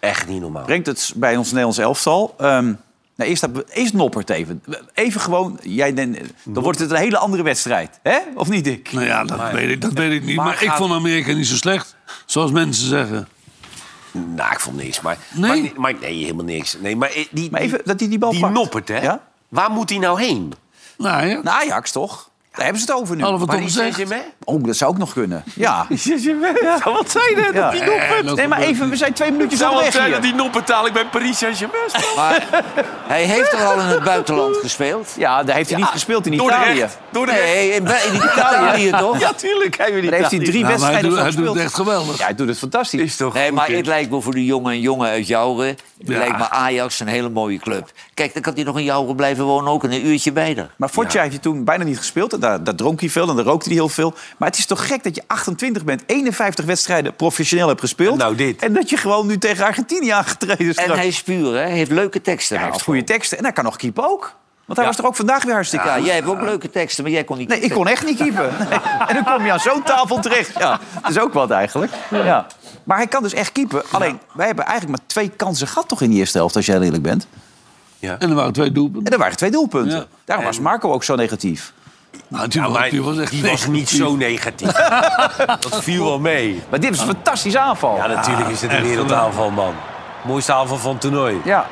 [SPEAKER 4] Echt niet normaal.
[SPEAKER 1] Brengt het bij ons Nederlands elftal. Ehm nou, eerst, dat, eerst Noppert even. Even gewoon, jij, den- dan wordt het een hele andere wedstrijd. Hè? Of niet, Dick?
[SPEAKER 6] Nou ja, dat, weet, ik, dat weet ik niet. Maar,
[SPEAKER 4] Maar
[SPEAKER 6] ik
[SPEAKER 4] gaat-
[SPEAKER 6] vond Amerika niet zo slecht, zoals mensen zeggen.
[SPEAKER 4] Nou, ik vond niks. Maar,
[SPEAKER 6] Nee?
[SPEAKER 4] maar, maar- nee, helemaal niks. Nee, maar, eh, die,
[SPEAKER 1] Maar even dat hij die bal
[SPEAKER 4] die
[SPEAKER 1] pakt.
[SPEAKER 4] Noppert, hè?
[SPEAKER 1] Ja?
[SPEAKER 4] Waar moet hij nou heen?
[SPEAKER 6] Nou ja,
[SPEAKER 1] Naar Ajax, toch? Daar hebben ze het over nu.
[SPEAKER 6] alles wat om
[SPEAKER 4] Paris
[SPEAKER 6] zegt.
[SPEAKER 4] Saint-Germain?
[SPEAKER 1] Oh, dat zou ook nog kunnen. Ja. Wat zei je? Dat
[SPEAKER 6] Eh,
[SPEAKER 1] die
[SPEAKER 6] Noppert-
[SPEAKER 1] Nee, maar even, we zijn twee minuutjes aan
[SPEAKER 4] Zou
[SPEAKER 1] de
[SPEAKER 4] het
[SPEAKER 1] weg
[SPEAKER 4] zijn dat
[SPEAKER 1] hier.
[SPEAKER 4] die Noppert dadelijk bij Paris Saint-Germain
[SPEAKER 1] *laughs*
[SPEAKER 4] speelt?
[SPEAKER 5] Maar hij heeft er al in het buitenland gespeeld.
[SPEAKER 1] Ja, daar heeft hij niet gespeeld in Italië.
[SPEAKER 4] Dordrecht. Dordrecht.
[SPEAKER 5] Nee, in, in
[SPEAKER 1] *laughs*
[SPEAKER 5] Italië toch?
[SPEAKER 4] Ja, tuurlijk. Hij wil niet.
[SPEAKER 1] Daar heeft hij drie
[SPEAKER 6] Nou, maar hij
[SPEAKER 1] wedstrijden
[SPEAKER 6] doet,
[SPEAKER 1] voor
[SPEAKER 6] hij doet
[SPEAKER 1] gespeeld.
[SPEAKER 6] het echt geweldig.
[SPEAKER 1] Ja, hij doet het fantastisch.
[SPEAKER 4] Is toch
[SPEAKER 5] Nee,
[SPEAKER 4] goed,
[SPEAKER 5] maar
[SPEAKER 4] hè?
[SPEAKER 5] het lijkt me voor de jongen en jongen uit Jouren...
[SPEAKER 6] Ja.
[SPEAKER 5] lijkt me Ajax een hele mooie club. Kijk, dan kan hij nog in Jouren blijven wonen, ook en een uurtje bijder.
[SPEAKER 1] Maar Fortje heeft je toen bijna niet gespeeld. En Daar, daar dronk hij veel en daar rookte hij heel veel. Maar het is toch gek dat je 28 bent, 51 wedstrijden professioneel hebt gespeeld.
[SPEAKER 4] Nou, dit.
[SPEAKER 1] En dat je gewoon nu tegen Argentinië aangetreden is.
[SPEAKER 5] En
[SPEAKER 1] straks.
[SPEAKER 5] hij is puur, hè? Hij heeft leuke teksten.
[SPEAKER 1] Ja, hij heeft
[SPEAKER 5] nou.
[SPEAKER 1] goede teksten. En hij kan nog keeper ook. Want hij was toch ook vandaag weer hartstikke
[SPEAKER 5] Ja,
[SPEAKER 1] goed?
[SPEAKER 5] jij hebt ook leuke teksten, maar jij kon niet...
[SPEAKER 1] Nee, ik kon echt niet keeper. Nee. En dan kom je aan zo'n tafel terecht. Ja, dat is ook wat eigenlijk. Ja. Maar hij kan dus echt keeper. Alleen, wij hebben eigenlijk maar twee kansen gehad toch in die eerste helft, als jij eerlijk bent.
[SPEAKER 6] En er waren twee doelpunten.
[SPEAKER 1] En er waren twee doelpunten.
[SPEAKER 6] Ja.
[SPEAKER 1] Daarom was Marco ook zo negatief.
[SPEAKER 6] Nou, die,
[SPEAKER 4] Ja, maar
[SPEAKER 6] die was echt
[SPEAKER 4] die was niet
[SPEAKER 6] negatief.
[SPEAKER 4] zo *laughs* negatief. dat viel wel mee.
[SPEAKER 1] Maar dit was een
[SPEAKER 6] Ah.
[SPEAKER 1] fantastische aanval.
[SPEAKER 4] Ja, natuurlijk is het een wereldaanval, man. Mooiste aanval van het toernooi.
[SPEAKER 1] Ja.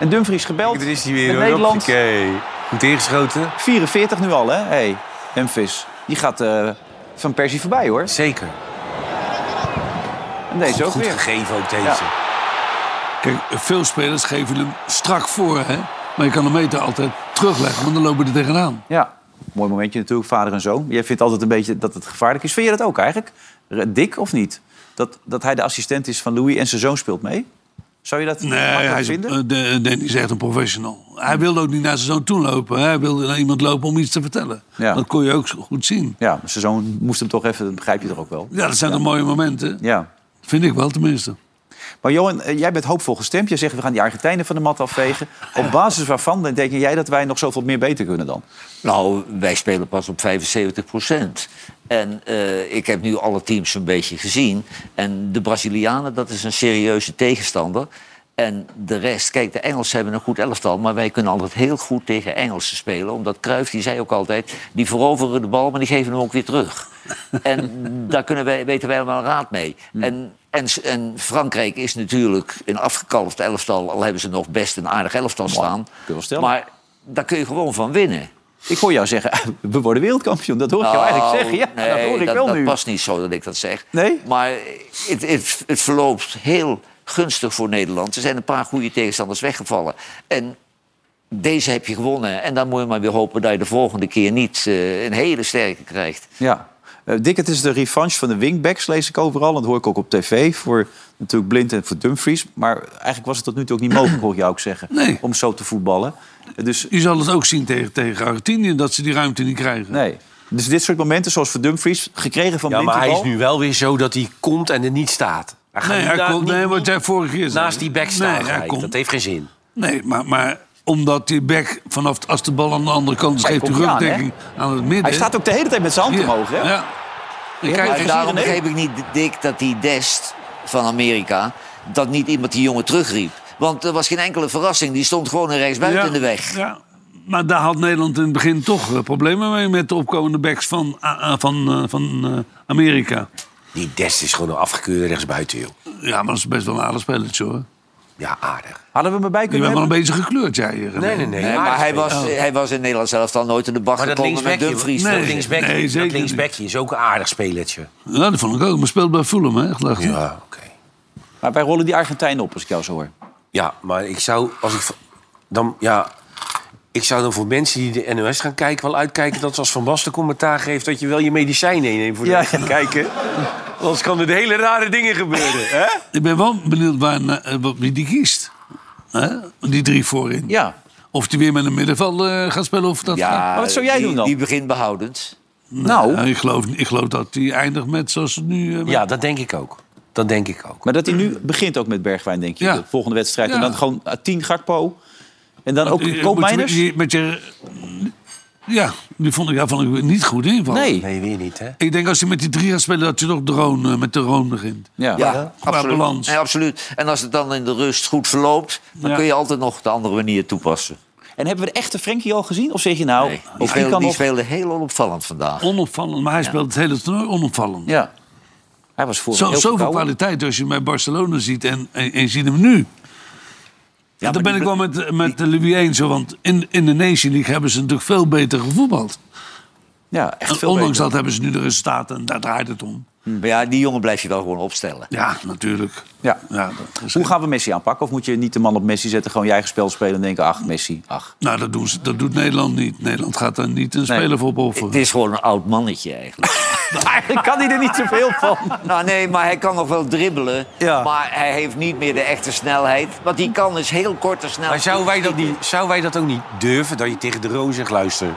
[SPEAKER 1] En Dumfries gebeld.
[SPEAKER 4] Er is hij weer,
[SPEAKER 1] Met
[SPEAKER 4] hoor.
[SPEAKER 1] Nederland.
[SPEAKER 4] Hoppakee. Goed ingeschoten.
[SPEAKER 1] 44 nu al, hè? Hey, Memphis. Die gaat eh, van Persie voorbij, hoor.
[SPEAKER 4] Zeker.
[SPEAKER 1] En deze ook
[SPEAKER 4] Goed
[SPEAKER 1] weer.
[SPEAKER 4] gegeven ook deze.
[SPEAKER 1] Ja.
[SPEAKER 6] Kijk, veel spelers geven hem strak voor, hè. Maar je kan de meter altijd terugleggen, want dan lopen we er tegenaan.
[SPEAKER 1] Ja. Mooi momentje natuurlijk, vader en zoon. Jij vindt altijd een beetje dat het gevaarlijk is. Vind je dat ook eigenlijk? R- Dik of niet? Dat, dat hij de assistent is van Louis en zijn zoon speelt mee? Zou je dat
[SPEAKER 6] Nee,
[SPEAKER 1] makkelijk
[SPEAKER 6] hij is,
[SPEAKER 1] vinden?
[SPEAKER 6] eh, de, Danny is echt een professional. Hij wilde ook niet naar zijn zoon toe lopen. Hij wilde naar iemand lopen om iets te vertellen.
[SPEAKER 1] Ja.
[SPEAKER 6] Dat kon je ook zo goed zien.
[SPEAKER 1] Ja, zijn zoon moest hem toch even... Dat begrijp je toch ook wel?
[SPEAKER 6] Ja, dat zijn toch mooie momenten.
[SPEAKER 1] Ja.
[SPEAKER 6] Vind ik wel, tenminste.
[SPEAKER 1] Maar Johan, eh, jij bent hoopvol gestemd. Jij zegt, we gaan die Argentijnen van de mat afvegen. Op basis waarvan denk jij dat wij nog zoveel meer beter kunnen dan?
[SPEAKER 5] Nou, wij spelen pas op 75 procent. En eh, ik heb nu alle teams een beetje gezien. En de Brazilianen, dat is een serieuze tegenstander. En de rest, kijk, de Engelsen hebben een goed elftal... maar wij kunnen altijd heel goed tegen Engelsen spelen. Omdat Cruijff, die zei ook altijd... die veroveren de bal, maar die geven hem ook weer
[SPEAKER 1] *laughs*
[SPEAKER 5] terug. en daar kunnen wij, weten wij allemaal raad mee.
[SPEAKER 1] Hmm.
[SPEAKER 5] En, en, en Frankrijk is natuurlijk een afgekalfd elftal... al hebben ze nog best een aardig elftal staan.
[SPEAKER 1] je wel stellen.
[SPEAKER 5] maar daar kun je gewoon van winnen.
[SPEAKER 1] Ik hoor jou zeggen, *laughs* we worden wereldkampioen. Dat hoor ik jou eigenlijk zeggen. Ja,
[SPEAKER 5] Oh, Nou, nee,
[SPEAKER 1] dat hoor ik
[SPEAKER 5] dat,
[SPEAKER 1] wel
[SPEAKER 5] dat
[SPEAKER 1] nu.
[SPEAKER 5] past niet zo dat ik dat zeg.
[SPEAKER 1] Nee?
[SPEAKER 5] Maar het, het, het verloopt heel gunstig voor Nederland. Er zijn een paar goede tegenstanders weggevallen. En deze heb je gewonnen. En dan moet je maar weer hopen dat je de volgende keer niet eh, een hele sterke krijgt.
[SPEAKER 1] Ja. Eh Dick, het is de revanche van de wingbacks, lees ik overal. Dat hoor ik ook op tv. Voor natuurlijk Blind en voor Dumfries. Maar eigenlijk was het tot nu toe ook niet mogelijk, hoor ik jou ook zeggen. Om zo te voetballen. Eh, Dus,
[SPEAKER 6] Je zal het ook zien tegen, tegen Argentinië, dat ze die ruimte niet krijgen.
[SPEAKER 1] Nee. Dus dit soort momenten, zoals voor Dumfries, gekregen van
[SPEAKER 4] Ja,
[SPEAKER 1] Blind
[SPEAKER 4] maar hij
[SPEAKER 1] die
[SPEAKER 4] is
[SPEAKER 1] bal.
[SPEAKER 4] nu wel weer zo dat hij komt en er niet staat. Hij gaat
[SPEAKER 6] Nee,
[SPEAKER 4] nu
[SPEAKER 6] hij
[SPEAKER 4] daar
[SPEAKER 6] komt-
[SPEAKER 4] niet-
[SPEAKER 6] nee, wat jij vorige keer zei.
[SPEAKER 4] Naast die back
[SPEAKER 6] Nee,
[SPEAKER 4] staan,
[SPEAKER 6] hij
[SPEAKER 4] Gijs.
[SPEAKER 6] komt-
[SPEAKER 4] dat heeft geen zin.
[SPEAKER 6] Nee, maar, maar omdat die back vanaf als de bal aan de andere kant is,
[SPEAKER 1] Hij
[SPEAKER 6] geeft de
[SPEAKER 1] komt niet aan,
[SPEAKER 6] rugdekking
[SPEAKER 1] hè?
[SPEAKER 6] aan, het midden.
[SPEAKER 1] Hij staat ook de hele tijd met zijn hand omhoog, hè?
[SPEAKER 6] Ja.
[SPEAKER 1] Ja,
[SPEAKER 6] kijk,
[SPEAKER 1] maar
[SPEAKER 6] ik zie
[SPEAKER 5] Daarom
[SPEAKER 6] René.
[SPEAKER 5] begreep ik niet, Dick, dat die Dest van Amerika... dat niet iemand die jongen terugriep. Want er was geen enkele verrassing. Die stond gewoon een rechtsbuiten in de weg.
[SPEAKER 6] Ja. Maar daar had Nederland in het begin toch eh, problemen mee met de opkomende backs van, ah, ah, van, eh, van eh, Amerika.
[SPEAKER 4] Die Dest is gewoon een afgekeurde rechtsbuiten, joh.
[SPEAKER 6] Ja, maar dat is best wel een aardig spelletje hoor.
[SPEAKER 4] Ja, aardig.
[SPEAKER 1] Hadden we hem erbij
[SPEAKER 6] Je
[SPEAKER 1] kunnen
[SPEAKER 6] bent wel
[SPEAKER 1] hebben?
[SPEAKER 6] een beetje gekleurd, jij. René.
[SPEAKER 4] Nee, nee, nee.
[SPEAKER 5] Nee, maar hij was, hij was in Nederland zelf al nooit in de bak
[SPEAKER 4] Maar dat
[SPEAKER 5] geklommen met
[SPEAKER 4] linksbekje,
[SPEAKER 5] Dumfries.
[SPEAKER 4] dat
[SPEAKER 5] Nee.
[SPEAKER 4] linksbekje,
[SPEAKER 6] nee,
[SPEAKER 4] dat
[SPEAKER 6] zeker
[SPEAKER 4] linksbekje is ook een aardig spelertje.
[SPEAKER 6] Ja, dat vond ik ook. Maar speelt bij Fulham, hè? geloof ik.
[SPEAKER 4] Ja, oké.
[SPEAKER 1] Maar wij rollen die Argentijnen op, als ik jou zo hoor.
[SPEAKER 4] Ja, maar ik zou, als ik, dan, ja, ik zou dan voor mensen die de NOS gaan kijken... wel uitkijken dat als Van Basten commentaar geeft... dat je wel je medicijnen inneemt voor de
[SPEAKER 1] Ja,
[SPEAKER 4] rest van het *laughs* kijken. Anders kan er hele rare dingen gebeuren. Hè?
[SPEAKER 6] Ik ben wel benieuwd waar, eh, wat- wie die kiest. Hè? Die drie voorin.
[SPEAKER 1] Ja.
[SPEAKER 6] Of die weer met een middenveld eh, gaat spelen of dat
[SPEAKER 5] Ja,
[SPEAKER 1] Maar wat zou jij
[SPEAKER 5] Ah, die,
[SPEAKER 1] doen dan?
[SPEAKER 5] Die begint behoudend.
[SPEAKER 1] Nou,
[SPEAKER 6] Nou, ik, geloof, ik geloof dat die eindigt met zoals het nu... eh, met-
[SPEAKER 4] Ja, dat denk ik ook. Dat denk ik ook.
[SPEAKER 1] maar dat hij
[SPEAKER 6] *clears throat*
[SPEAKER 1] nu begint ook met Bergwijn, denk je.
[SPEAKER 6] Ja.
[SPEAKER 1] De volgende wedstrijd. En
[SPEAKER 6] Ja.
[SPEAKER 1] dan gewoon eh, 10 Gakpo. En dan ook
[SPEAKER 6] Eh, moet je
[SPEAKER 1] Koopmeiners.
[SPEAKER 6] Met je, met je, ja, die vond ik, ja, vond ik weer niet goed inval.
[SPEAKER 1] Nee.
[SPEAKER 4] Nee, weer niet, hè?
[SPEAKER 6] Ik denk als je met die drie gaat spelen, dat je toch drone, eh, met de drone begint.
[SPEAKER 1] Ja.
[SPEAKER 5] Ja,
[SPEAKER 6] Qua balans.
[SPEAKER 5] Nee, absoluut. En als het dan in de rust goed verloopt, dan
[SPEAKER 6] Ja.
[SPEAKER 5] kun je altijd nog de andere manier toepassen.
[SPEAKER 1] En hebben we de echte Frenkie al gezien? Of zeg je nou,
[SPEAKER 5] Nee, die,
[SPEAKER 1] of die
[SPEAKER 5] speelde,
[SPEAKER 1] kan
[SPEAKER 5] die
[SPEAKER 1] nog...
[SPEAKER 5] speelde heel onopvallend vandaag.
[SPEAKER 6] Onopvallend, maar hij speelt het hele toernooi onopvallend.
[SPEAKER 1] Ja. Hij was voor
[SPEAKER 6] Zo, zoveel kwaliteit als je hem bij Barcelona ziet en, en, en je ziet hem nu. Ja,
[SPEAKER 5] maar
[SPEAKER 6] dan ben
[SPEAKER 5] die
[SPEAKER 6] ik wel met, met de Louis eens, hoor, want in, in de Nation League hebben ze natuurlijk veel beter gevoetbald.
[SPEAKER 1] Ja, echt
[SPEAKER 6] En
[SPEAKER 1] veel
[SPEAKER 6] ondanks
[SPEAKER 1] beter.
[SPEAKER 6] dat hebben ze nu de resultaten en daar draait het om.
[SPEAKER 5] Maar ja, die jongen blijf je wel gewoon opstellen.
[SPEAKER 6] Ja, natuurlijk.
[SPEAKER 1] Ja.
[SPEAKER 6] Ja, dat is-
[SPEAKER 1] Hoe gaan we Messi aanpakken? Of moet je niet de man op Messi zetten, gewoon je eigen spel spelen en denken, ach, Messi, ach.
[SPEAKER 6] nou, dat, doen ze, dat doet Nederland niet. Nederland gaat daar niet een speler voor opofferen.
[SPEAKER 5] Het
[SPEAKER 1] eh,
[SPEAKER 5] is gewoon een oud mannetje eigenlijk.
[SPEAKER 1] *laughs* Eigenlijk kan hij er niet zoveel van.
[SPEAKER 5] nou nee, maar hij kan nog wel dribbelen.
[SPEAKER 1] Ja.
[SPEAKER 5] Maar hij heeft niet meer de echte snelheid. Wat hij kan is heel korte
[SPEAKER 4] Maar
[SPEAKER 5] snelheid.
[SPEAKER 4] zouden wij, dat niet, zouden wij dat ook niet durven, dat je tegen de roos zegt, luister...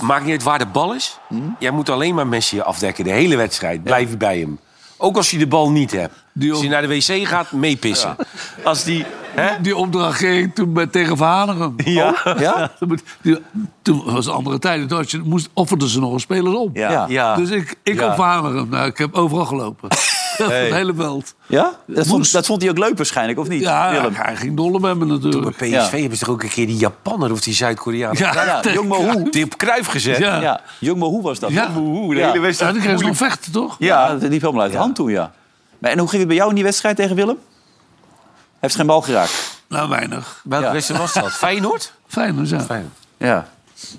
[SPEAKER 4] Maakt niet uit waar de bal is.
[SPEAKER 6] Hm?
[SPEAKER 4] Jij moet alleen maar Messi afdekken, de hele wedstrijd. Blijf je bij hem. Ook als hij de bal niet hebt.
[SPEAKER 6] Die
[SPEAKER 4] Als hij naar de wc gaat, meepissen. Als die... Hè?
[SPEAKER 6] Die opdracht ging ik toen bij, tegen Verhaneren.
[SPEAKER 4] Ja.
[SPEAKER 1] Oh,
[SPEAKER 6] *laughs*
[SPEAKER 1] Ja?
[SPEAKER 6] Toen moet- die- Toen was het andere tijden. Toen had je- moest, offerden ze nog een speler op.
[SPEAKER 5] Ja.
[SPEAKER 1] Ja.
[SPEAKER 4] Ja.
[SPEAKER 6] Dus ik, ik
[SPEAKER 4] Ja.
[SPEAKER 6] op Verhaneren. Nou, ik heb overal gelopen. *laughs* Het hele veld.
[SPEAKER 1] Ja? Dat vond,
[SPEAKER 6] Moest.
[SPEAKER 1] dat vond hij ook leuk waarschijnlijk, of niet,
[SPEAKER 6] Ja,
[SPEAKER 1] Willem?
[SPEAKER 6] hij ging dolle bij me natuurlijk.
[SPEAKER 4] PSV
[SPEAKER 1] Ja.
[SPEAKER 4] hebben ze toch ook een keer die Japanner of die Zuid-Koreaan...
[SPEAKER 1] Ja,
[SPEAKER 6] tegen-
[SPEAKER 1] Jong Mohoe.
[SPEAKER 4] Die op kruif gezet.
[SPEAKER 6] Ja.
[SPEAKER 1] Ja, Jong Mohoe was dat.
[SPEAKER 6] Ja.
[SPEAKER 1] toch?
[SPEAKER 4] Oeh, de
[SPEAKER 1] Ja.
[SPEAKER 4] hele
[SPEAKER 6] Ja,
[SPEAKER 4] wedstrijd.
[SPEAKER 6] dan kreeg ze nog vechten, toch?
[SPEAKER 1] Ja, dat liep helemaal uit de hand toen, ja. Maar en hoe ging het bij jou in die wedstrijd tegen Willem? Hij heeft geen bal geraakt.
[SPEAKER 6] Nou, weinig.
[SPEAKER 4] Welke
[SPEAKER 1] Ja.
[SPEAKER 4] wedstrijd
[SPEAKER 6] *laughs*
[SPEAKER 4] was dat? Feyenoord?
[SPEAKER 6] Fijn, dus ja.
[SPEAKER 4] Feyenoord.
[SPEAKER 1] Ja.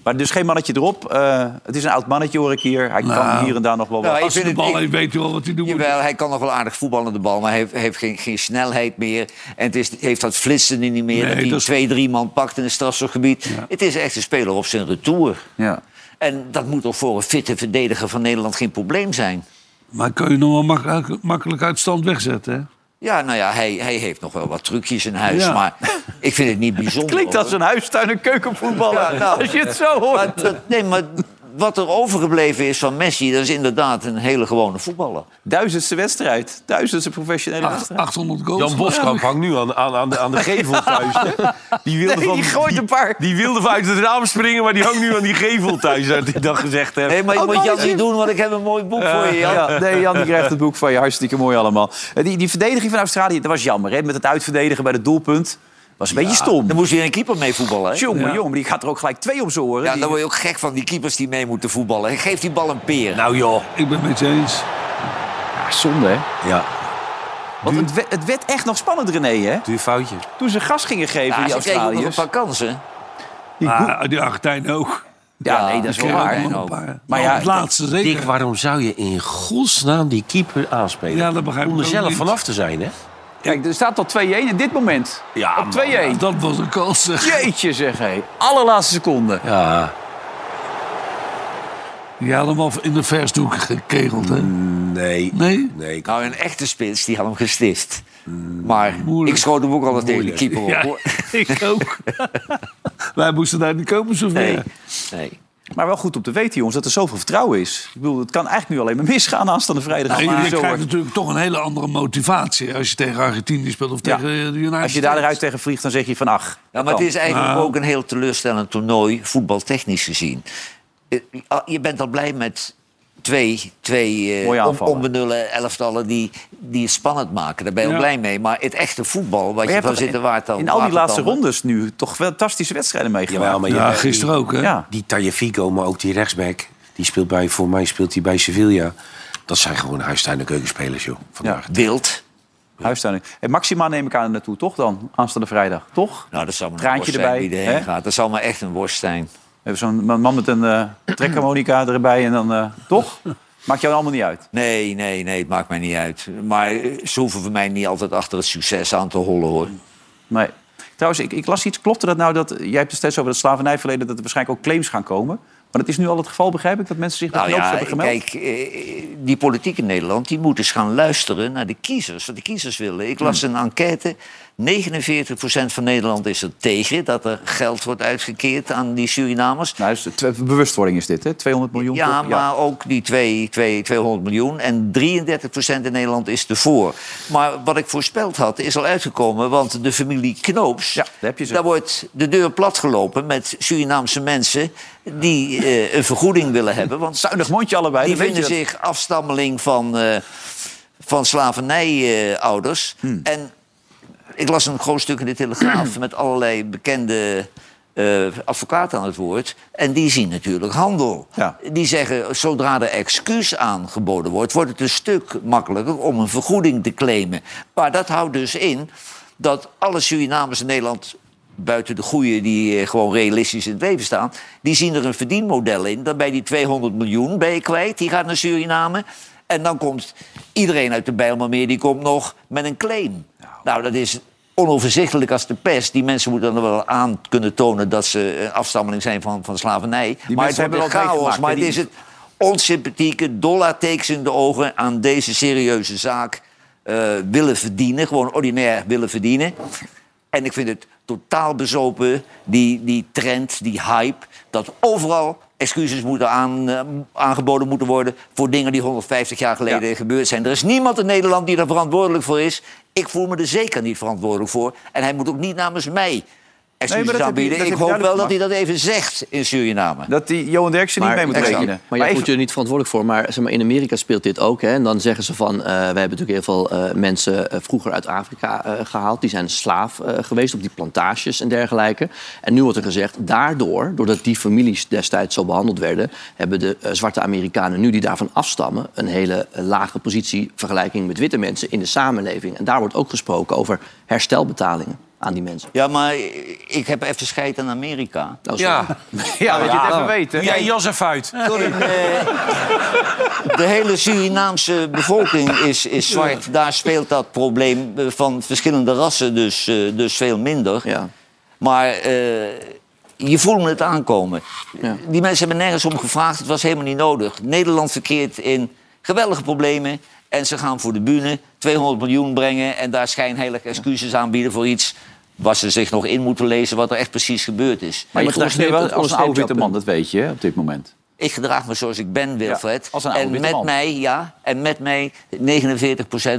[SPEAKER 1] Maar dus geen mannetje erop. Eh, het is een oud mannetje, hoor ik hier. Hij kan
[SPEAKER 6] Nou.
[SPEAKER 1] hier en daar nog wel wat.
[SPEAKER 5] Nou, ik
[SPEAKER 6] Als je
[SPEAKER 5] vind
[SPEAKER 6] de
[SPEAKER 5] het- ik-
[SPEAKER 6] bal heeft, weet je wel wat hij doet.
[SPEAKER 5] Jawel, hij kan nog wel aardig voetballen aan de bal, maar hij heeft, hij heeft geen, geen snelheid meer. En het is, heeft dat flitsen niet meer.
[SPEAKER 6] Nee,
[SPEAKER 5] dat hij
[SPEAKER 6] dat is-
[SPEAKER 5] twee, drie man pakt in het strafschopgebied. Het is echt een speler op zijn retour.
[SPEAKER 1] Ja.
[SPEAKER 5] En dat moet toch voor een fitte verdediger van Nederland geen probleem zijn?
[SPEAKER 6] Maar kun je nog wel mak- makkelijk uit stand wegzetten, hè?
[SPEAKER 5] Ja, nou ja, hij, hij heeft nog wel wat trucjes in huis,
[SPEAKER 6] Ja.
[SPEAKER 5] maar ik vind het niet bijzonder.
[SPEAKER 1] *laughs* Klinkt als
[SPEAKER 5] hoor.
[SPEAKER 1] een huistuin- en keukenvoetballer.
[SPEAKER 5] Ja, nou.
[SPEAKER 1] *laughs* Als je het zo hoort.
[SPEAKER 5] Maar dat- nee, maar wat er overgebleven is van Messi, dat is inderdaad een hele gewone voetballer.
[SPEAKER 1] Duizendste wedstrijd. Duizendste professionele
[SPEAKER 6] Acht-
[SPEAKER 1] wedstrijd.
[SPEAKER 6] 800 goals.
[SPEAKER 4] Jan Boskamp hangt nu aan, aan, aan, de,
[SPEAKER 6] *laughs*
[SPEAKER 4] aan de gevel thuis. hè? Die wilde
[SPEAKER 1] Nee, die gooit een paar.
[SPEAKER 4] Die wilde van uit het raam springen, maar die hangt nu aan die gevel thuis, dat ik dat gezegd heb.
[SPEAKER 5] Nee, maar je
[SPEAKER 1] Oh,
[SPEAKER 5] moet Jan
[SPEAKER 1] mannetje.
[SPEAKER 5] niet doen, *laughs* want ik heb een mooi boek voor je, Jan.
[SPEAKER 1] Ja, nee, Jan die krijgt het boek van je. Hartstikke mooi allemaal. Eh, Die, die verdediging van Australië, dat was jammer. Hè? Met het uitverdedigen bij het doelpunt. Was een beetje stom.
[SPEAKER 5] Dan moest weer een keeper mee voetballen. Hè?
[SPEAKER 1] Jongen, jongen, die gaat er ook gelijk twee om zijn oren.
[SPEAKER 5] Ja,
[SPEAKER 1] Die-
[SPEAKER 5] dan word je ook gek van die keepers die mee moeten voetballen. hè. Geef die bal een peer.
[SPEAKER 4] Nou joh.
[SPEAKER 6] Ik ben het met je eens.
[SPEAKER 1] Ja, zonde, hè?
[SPEAKER 4] Ja.
[SPEAKER 1] Want het, we- het werd echt nog spannend, René, hè?
[SPEAKER 4] Duur foutje.
[SPEAKER 1] Toen ze gas gingen geven,
[SPEAKER 5] ja,
[SPEAKER 1] die
[SPEAKER 5] ze kregen ook nog een
[SPEAKER 1] Australiërs.
[SPEAKER 5] paar kansen.
[SPEAKER 6] Ah, die Argentijnen ook.
[SPEAKER 1] Ja, nee, dat is
[SPEAKER 5] die
[SPEAKER 1] wel
[SPEAKER 5] kregen
[SPEAKER 1] waar.
[SPEAKER 5] ook
[SPEAKER 6] Nog
[SPEAKER 5] nog
[SPEAKER 6] een paar.
[SPEAKER 1] Maar
[SPEAKER 6] Maar
[SPEAKER 1] ja,
[SPEAKER 6] ja, het laatste
[SPEAKER 4] Dick,
[SPEAKER 6] zeker.
[SPEAKER 4] waarom zou je in godsnaam die keeper aanspelen?
[SPEAKER 6] Ja, dat begrijp ik
[SPEAKER 4] Om er
[SPEAKER 6] ook
[SPEAKER 4] zelf
[SPEAKER 6] niet.
[SPEAKER 4] vanaf te zijn, hè?
[SPEAKER 1] Kijk, er staat tot 2-1 in dit moment.
[SPEAKER 4] Ja,
[SPEAKER 1] Op
[SPEAKER 4] man.
[SPEAKER 1] 2-1.
[SPEAKER 6] Dat was een kans, zeg.
[SPEAKER 1] Jeetje, zeg hé. Allerlaatste seconde.
[SPEAKER 4] Ja.
[SPEAKER 6] Je had hem al in de versdoek gekegeld, hè?
[SPEAKER 4] Nee.
[SPEAKER 6] Nee?
[SPEAKER 5] Nou, een echte spits, die had hem gestift. Maar ik schoot hem ook altijd tegen de keeper op.
[SPEAKER 6] Ja,
[SPEAKER 5] hoor.
[SPEAKER 6] ik ook. *laughs* Wij moesten daar niet kopen, of
[SPEAKER 5] Nee.
[SPEAKER 6] meer.
[SPEAKER 5] nee.
[SPEAKER 1] Maar wel goed om te weten, jongens, dat er zoveel vertrouwen is. Ik bedoel, het kan eigenlijk nu alleen maar *laughs* misgaan aanstaande vrijdag.
[SPEAKER 6] Nou,
[SPEAKER 1] Maar
[SPEAKER 6] je
[SPEAKER 1] zo
[SPEAKER 6] krijgt
[SPEAKER 1] wordt-
[SPEAKER 6] natuurlijk toch een hele andere motivatie als je tegen Argentinië speelt of
[SPEAKER 1] Ja.
[SPEAKER 6] tegen eh, de United
[SPEAKER 1] Als je daar eruit tegen vliegt, dan zeg je van ach.
[SPEAKER 5] Ja, maar het
[SPEAKER 1] kan.
[SPEAKER 5] is eigenlijk
[SPEAKER 6] Nou.
[SPEAKER 5] ook een heel teleurstellend toernooi, voetbaltechnisch gezien. Eh, Je bent al blij met twee, twee
[SPEAKER 1] Mooie
[SPEAKER 5] eh on-
[SPEAKER 1] aanvallen.
[SPEAKER 5] onbenullen elftallen die, die het spannend maken. Daar ben je
[SPEAKER 6] Ja.
[SPEAKER 5] al blij mee. Maar het echte voetbal, wat
[SPEAKER 1] Maar
[SPEAKER 5] je
[SPEAKER 1] je
[SPEAKER 5] van
[SPEAKER 1] hebt
[SPEAKER 5] zitten waard dan...
[SPEAKER 1] in al die
[SPEAKER 5] waard
[SPEAKER 1] laatste
[SPEAKER 5] dan-
[SPEAKER 1] rondes nu toch fantastische wedstrijden meegemaakt.
[SPEAKER 4] Jawel, maar je-
[SPEAKER 6] Ja, gisteren ook, hè?
[SPEAKER 1] Ja.
[SPEAKER 4] Die Tagliafico, maar ook die rechtsback. Die speelt bij, voor mij speelt hij bij Sevilla. Dat zijn gewoon huistuin- en keukenspelers, joh. Vandaag.
[SPEAKER 5] Wild.
[SPEAKER 1] Huistuin. En Maxima neem ik aan naartoe, toch dan? Aanstaande vrijdag, toch?
[SPEAKER 5] Nou, dat zou maar een
[SPEAKER 1] Traantje
[SPEAKER 5] worst zijn
[SPEAKER 1] erbij,
[SPEAKER 5] die erheen
[SPEAKER 1] hè?
[SPEAKER 5] gaat. Dat zou maar echt een worst zijn.
[SPEAKER 1] We hebben zo'n ma- man met een eh trekharmonica erbij en dan... eh, toch? Maakt jou allemaal niet uit.
[SPEAKER 5] Nee, nee, nee, het maakt mij niet uit. Maar eh, ze hoeven voor mij niet altijd achter het succes aan te hollen, hoor.
[SPEAKER 1] Nee. Trouwens, ik, ik las iets. Klopte dat nou dat... Jij hebt het steeds over het slavernijverleden... dat er waarschijnlijk ook claims gaan komen. Maar dat is nu al het geval, begrijp ik? Dat mensen zich
[SPEAKER 5] Nou
[SPEAKER 1] dat
[SPEAKER 5] ja,
[SPEAKER 1] hebben gemeld?
[SPEAKER 5] kijk, eh, die politiek in Nederland die moet eens gaan luisteren naar de kiezers, wat de kiezers willen. Ik las
[SPEAKER 1] Hmm.
[SPEAKER 5] een enquête, 49% van Nederland is er tegen dat er geld wordt uitgekeerd aan die Surinamers.
[SPEAKER 1] Nou, is het- eh, bewustwording is dit, hè? 200 miljoen.
[SPEAKER 5] Ja,
[SPEAKER 1] toch?
[SPEAKER 5] maar ook die twee- twee- 200 miljoen. En 33% in Nederland is ervoor. Maar wat ik voorspeld had, is al uitgekomen. Want de familie Knoops,
[SPEAKER 1] Ja, daar heb je ze.
[SPEAKER 5] wordt de deur platgelopen met Surinaamse mensen... die eh, een vergoeding willen hebben. Want
[SPEAKER 1] Zuinig mondje allebei.
[SPEAKER 5] die
[SPEAKER 1] dan weet je
[SPEAKER 5] vinden
[SPEAKER 1] dat.
[SPEAKER 5] zich afstammeling van, eh van slavernijouders.
[SPEAKER 1] Hmm.
[SPEAKER 5] En ik las een groot stuk in
[SPEAKER 1] *clears throat*
[SPEAKER 5] de Telegraaf met allerlei bekende eh, advocaten aan het woord. En die zien natuurlijk handel.
[SPEAKER 1] Ja.
[SPEAKER 5] Die zeggen, zodra er excuus aangeboden wordt... wordt het een stuk makkelijker om een vergoeding te claimen. Maar dat houdt dus in dat alle Surinamers in Nederland... buiten de goeie die eh, gewoon realistisch in het leven staan... die zien er een verdienmodel in. Dan bij die 200 miljoen ben je kwijt, die gaat naar Suriname... En dan komt iedereen uit de Bijlmermeer, die komt nog met een claim. Nou, dat is onoverzichtelijk als de pest. Die mensen moeten dan wel aan kunnen tonen dat ze een afstammeling zijn van, van slavernij. maar het
[SPEAKER 1] mensen
[SPEAKER 5] wordt
[SPEAKER 1] hebben
[SPEAKER 5] een
[SPEAKER 1] wel meegemaakt,
[SPEAKER 5] chaos.
[SPEAKER 1] hè,
[SPEAKER 5] Maar het
[SPEAKER 1] die-
[SPEAKER 5] is het onsympathieke dollartekens in de ogen aan deze serieuze zaak eh, willen verdienen. Gewoon ordinair willen verdienen. En ik vind het totaal bezopen, die, die trend, die hype, dat overal excuses moeten aan, eh, aangeboden moeten worden voor dingen die 150 jaar geleden gebeurd zijn. Er is niemand in Nederland die daar verantwoordelijk voor is. Ik voel me er zeker niet verantwoordelijk voor. En hij moet ook niet namens mij
[SPEAKER 1] Nee,
[SPEAKER 5] excuses
[SPEAKER 1] maar dat heb je-
[SPEAKER 5] aanbieden.
[SPEAKER 1] dat
[SPEAKER 5] ik
[SPEAKER 1] heb je
[SPEAKER 5] hoop wel dat
[SPEAKER 1] duidelijk
[SPEAKER 5] hij dat even zegt in Suriname.
[SPEAKER 1] Dat die Johan Derksen niet mee moet
[SPEAKER 5] exact.
[SPEAKER 1] rekenen.
[SPEAKER 2] Maar,
[SPEAKER 1] Maar
[SPEAKER 2] jij
[SPEAKER 1] even-
[SPEAKER 2] voelt je er niet verantwoordelijk voor. Maar, zeg maar in Amerika speelt dit ook. Hè? En dan zeggen ze van, eh, wij hebben natuurlijk heel veel eh, mensen eh, vroeger uit Afrika eh, gehaald. Die zijn slaaf eh, geweest op die plantages en dergelijke. En nu wordt er gezegd, daardoor, doordat die families destijds zo behandeld werden... hebben de eh, zwarte Amerikanen nu die daarvan afstammen... een hele eh, lage positie vergelijking met witte mensen in de samenleving. En daar wordt ook gesproken over herstelbetalingen aan die mensen.
[SPEAKER 5] Ja, maar ik heb even scheid aan Amerika.
[SPEAKER 2] Nou, sorry.
[SPEAKER 4] Ja,
[SPEAKER 1] Ja, dat je het even weet, hè?
[SPEAKER 4] jij jas even uit.
[SPEAKER 5] De hele Surinaamse bevolking is, is zwart. Daar speelt dat probleem eh, van verschillende rassen dus, eh, dus veel minder.
[SPEAKER 2] Ja.
[SPEAKER 5] Maar eh, je voelde het aankomen. Die mensen hebben nergens om gevraagd. Het was helemaal niet nodig. Nederland verkeert in geweldige problemen. En ze gaan voor de bühne 200 miljoen brengen... en daar schijnheilig excuses aanbieden voor iets... waar ze zich nog in moeten lezen wat er echt precies gebeurd is.
[SPEAKER 1] Maar je
[SPEAKER 2] Maar je
[SPEAKER 1] gedraagt je wel
[SPEAKER 2] onderstreept-
[SPEAKER 1] als een oude
[SPEAKER 2] onderstreept
[SPEAKER 1] witte man,
[SPEAKER 2] jouw
[SPEAKER 1] dat weet je hè, op dit moment.
[SPEAKER 5] Ik gedraag me zoals ik ben, Wilfred.
[SPEAKER 1] Ja, als een oude
[SPEAKER 5] en
[SPEAKER 1] witte
[SPEAKER 5] met
[SPEAKER 1] man.
[SPEAKER 5] mij, ja, en met mij, 49%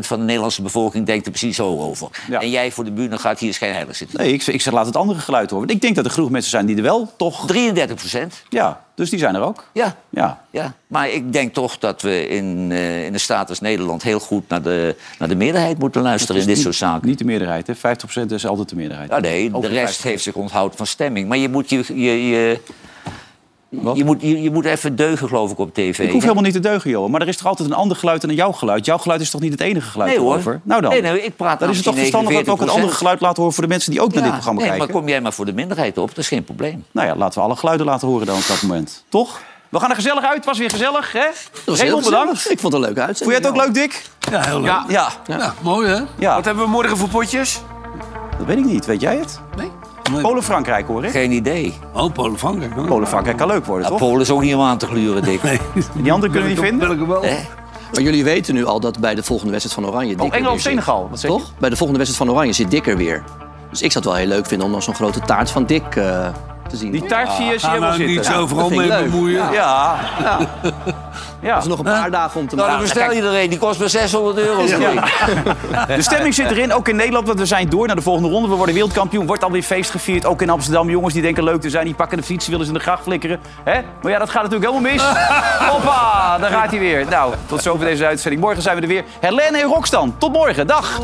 [SPEAKER 5] van de Nederlandse bevolking denkt er precies zo over.
[SPEAKER 1] Ja.
[SPEAKER 5] En jij voor de bühne gaat hier schijnheilig zitten.
[SPEAKER 1] Nee, ik, zeg- ik zeg laat het andere geluid horen. Want ik denk dat er genoeg mensen zijn die er wel toch...
[SPEAKER 5] 33
[SPEAKER 1] Ja, dus die zijn er ook.
[SPEAKER 5] Ja.
[SPEAKER 1] Ja.
[SPEAKER 5] ja. Maar ik denk toch dat we in, eh, in de staat als Nederland heel goed naar de, naar de meerderheid moeten luisteren in dit soort zaken.
[SPEAKER 1] Niet de meerderheid, hè. 50% is altijd de meerderheid.
[SPEAKER 5] Ja, nee, de
[SPEAKER 1] Over
[SPEAKER 5] rest
[SPEAKER 1] 50.
[SPEAKER 5] heeft zich onthouden van stemming. Maar je moet je. je, je je moet, je, je moet even deugen, geloof ik, op tv.
[SPEAKER 1] Ik hoef
[SPEAKER 5] hè?
[SPEAKER 1] helemaal niet te deugen, Johan. Maar er is toch altijd een ander geluid dan jouw geluid? Jouw geluid is toch niet het enige geluid
[SPEAKER 5] Nee, hoor.
[SPEAKER 1] erover? Nou dan.
[SPEAKER 5] Nee, nee, ik praat
[SPEAKER 1] dan is het toch
[SPEAKER 5] namens die
[SPEAKER 1] verstandig dat we ook een
[SPEAKER 5] 49%.
[SPEAKER 1] ander geluid laten horen... voor de mensen die ook naar
[SPEAKER 5] Ja,
[SPEAKER 1] dit programma
[SPEAKER 5] nee,
[SPEAKER 1] kijken.
[SPEAKER 5] Maar kom jij maar voor de minderheid op, dat is geen probleem.
[SPEAKER 1] Nou ja, laten we alle geluiden laten horen dan op dat moment. Toch? We gaan er gezellig uit. Het was weer gezellig, hè?
[SPEAKER 2] Dat was heel
[SPEAKER 1] Raymond, bedankt.
[SPEAKER 2] gezellig. Ik vond het een leuke
[SPEAKER 1] Vond jij
[SPEAKER 2] uitzending.
[SPEAKER 1] het ook leuk, Dick?
[SPEAKER 6] Ja, heel leuk.
[SPEAKER 1] Ja.
[SPEAKER 6] Ja, mooi hè?
[SPEAKER 1] Ja,
[SPEAKER 4] Wat hebben we morgen voor potjes?
[SPEAKER 1] dat weet ik niet. Weet jij het?
[SPEAKER 6] Nee.
[SPEAKER 1] Polen-Frankrijk hoor ik.
[SPEAKER 5] *laughs* Geen idee.
[SPEAKER 6] Oh, Polen-Frankrijk.
[SPEAKER 1] Polen-Frankrijk kan leuk worden,
[SPEAKER 5] Ja,
[SPEAKER 1] toch?
[SPEAKER 5] Polen is ook niet om aan te gluren, Dick.
[SPEAKER 6] *laughs*
[SPEAKER 5] Nee.
[SPEAKER 1] Die anderen kunnen we niet vinden.
[SPEAKER 6] Ah,
[SPEAKER 2] Maar jullie weten nu al dat bij de volgende wedstrijd van Oranje. Dikker
[SPEAKER 1] Oh, Engeland,
[SPEAKER 2] weer zit.
[SPEAKER 1] Senegal, wat zeg je?
[SPEAKER 2] Toch? Bij de volgende wedstrijd van Oranje zit Dikker weer. Dus ik zou het wel heel leuk vinden om nog zo'n grote taart van Dick eh, te zien.
[SPEAKER 1] Die taart zie je,
[SPEAKER 6] nou,
[SPEAKER 1] zie je wel zitten.
[SPEAKER 2] Ja, dat vind ik leuk.
[SPEAKER 1] Ja. ja. Ja.
[SPEAKER 2] Dat is nog een paar dagen om te
[SPEAKER 5] Nou, dan
[SPEAKER 2] maken.
[SPEAKER 5] bestel je er een. Die kost maar 600 euro.
[SPEAKER 1] Ja.
[SPEAKER 5] Dick.
[SPEAKER 1] De stemming zit erin, ook in Nederland, want we zijn door naar de volgende ronde. We worden wereldkampioen, wordt alweer feest gevierd. Ook in Amsterdam, jongens die denken leuk te zijn, die pakken de fiets, willen ze in de gracht flikkeren. Hè? Maar ja, dat gaat natuurlijk helemaal mis. Hoppa, daar gaat hij weer. Nou, tot zover deze uitzending. Morgen zijn we er weer. Helene en Roxtan, tot morgen. Dag.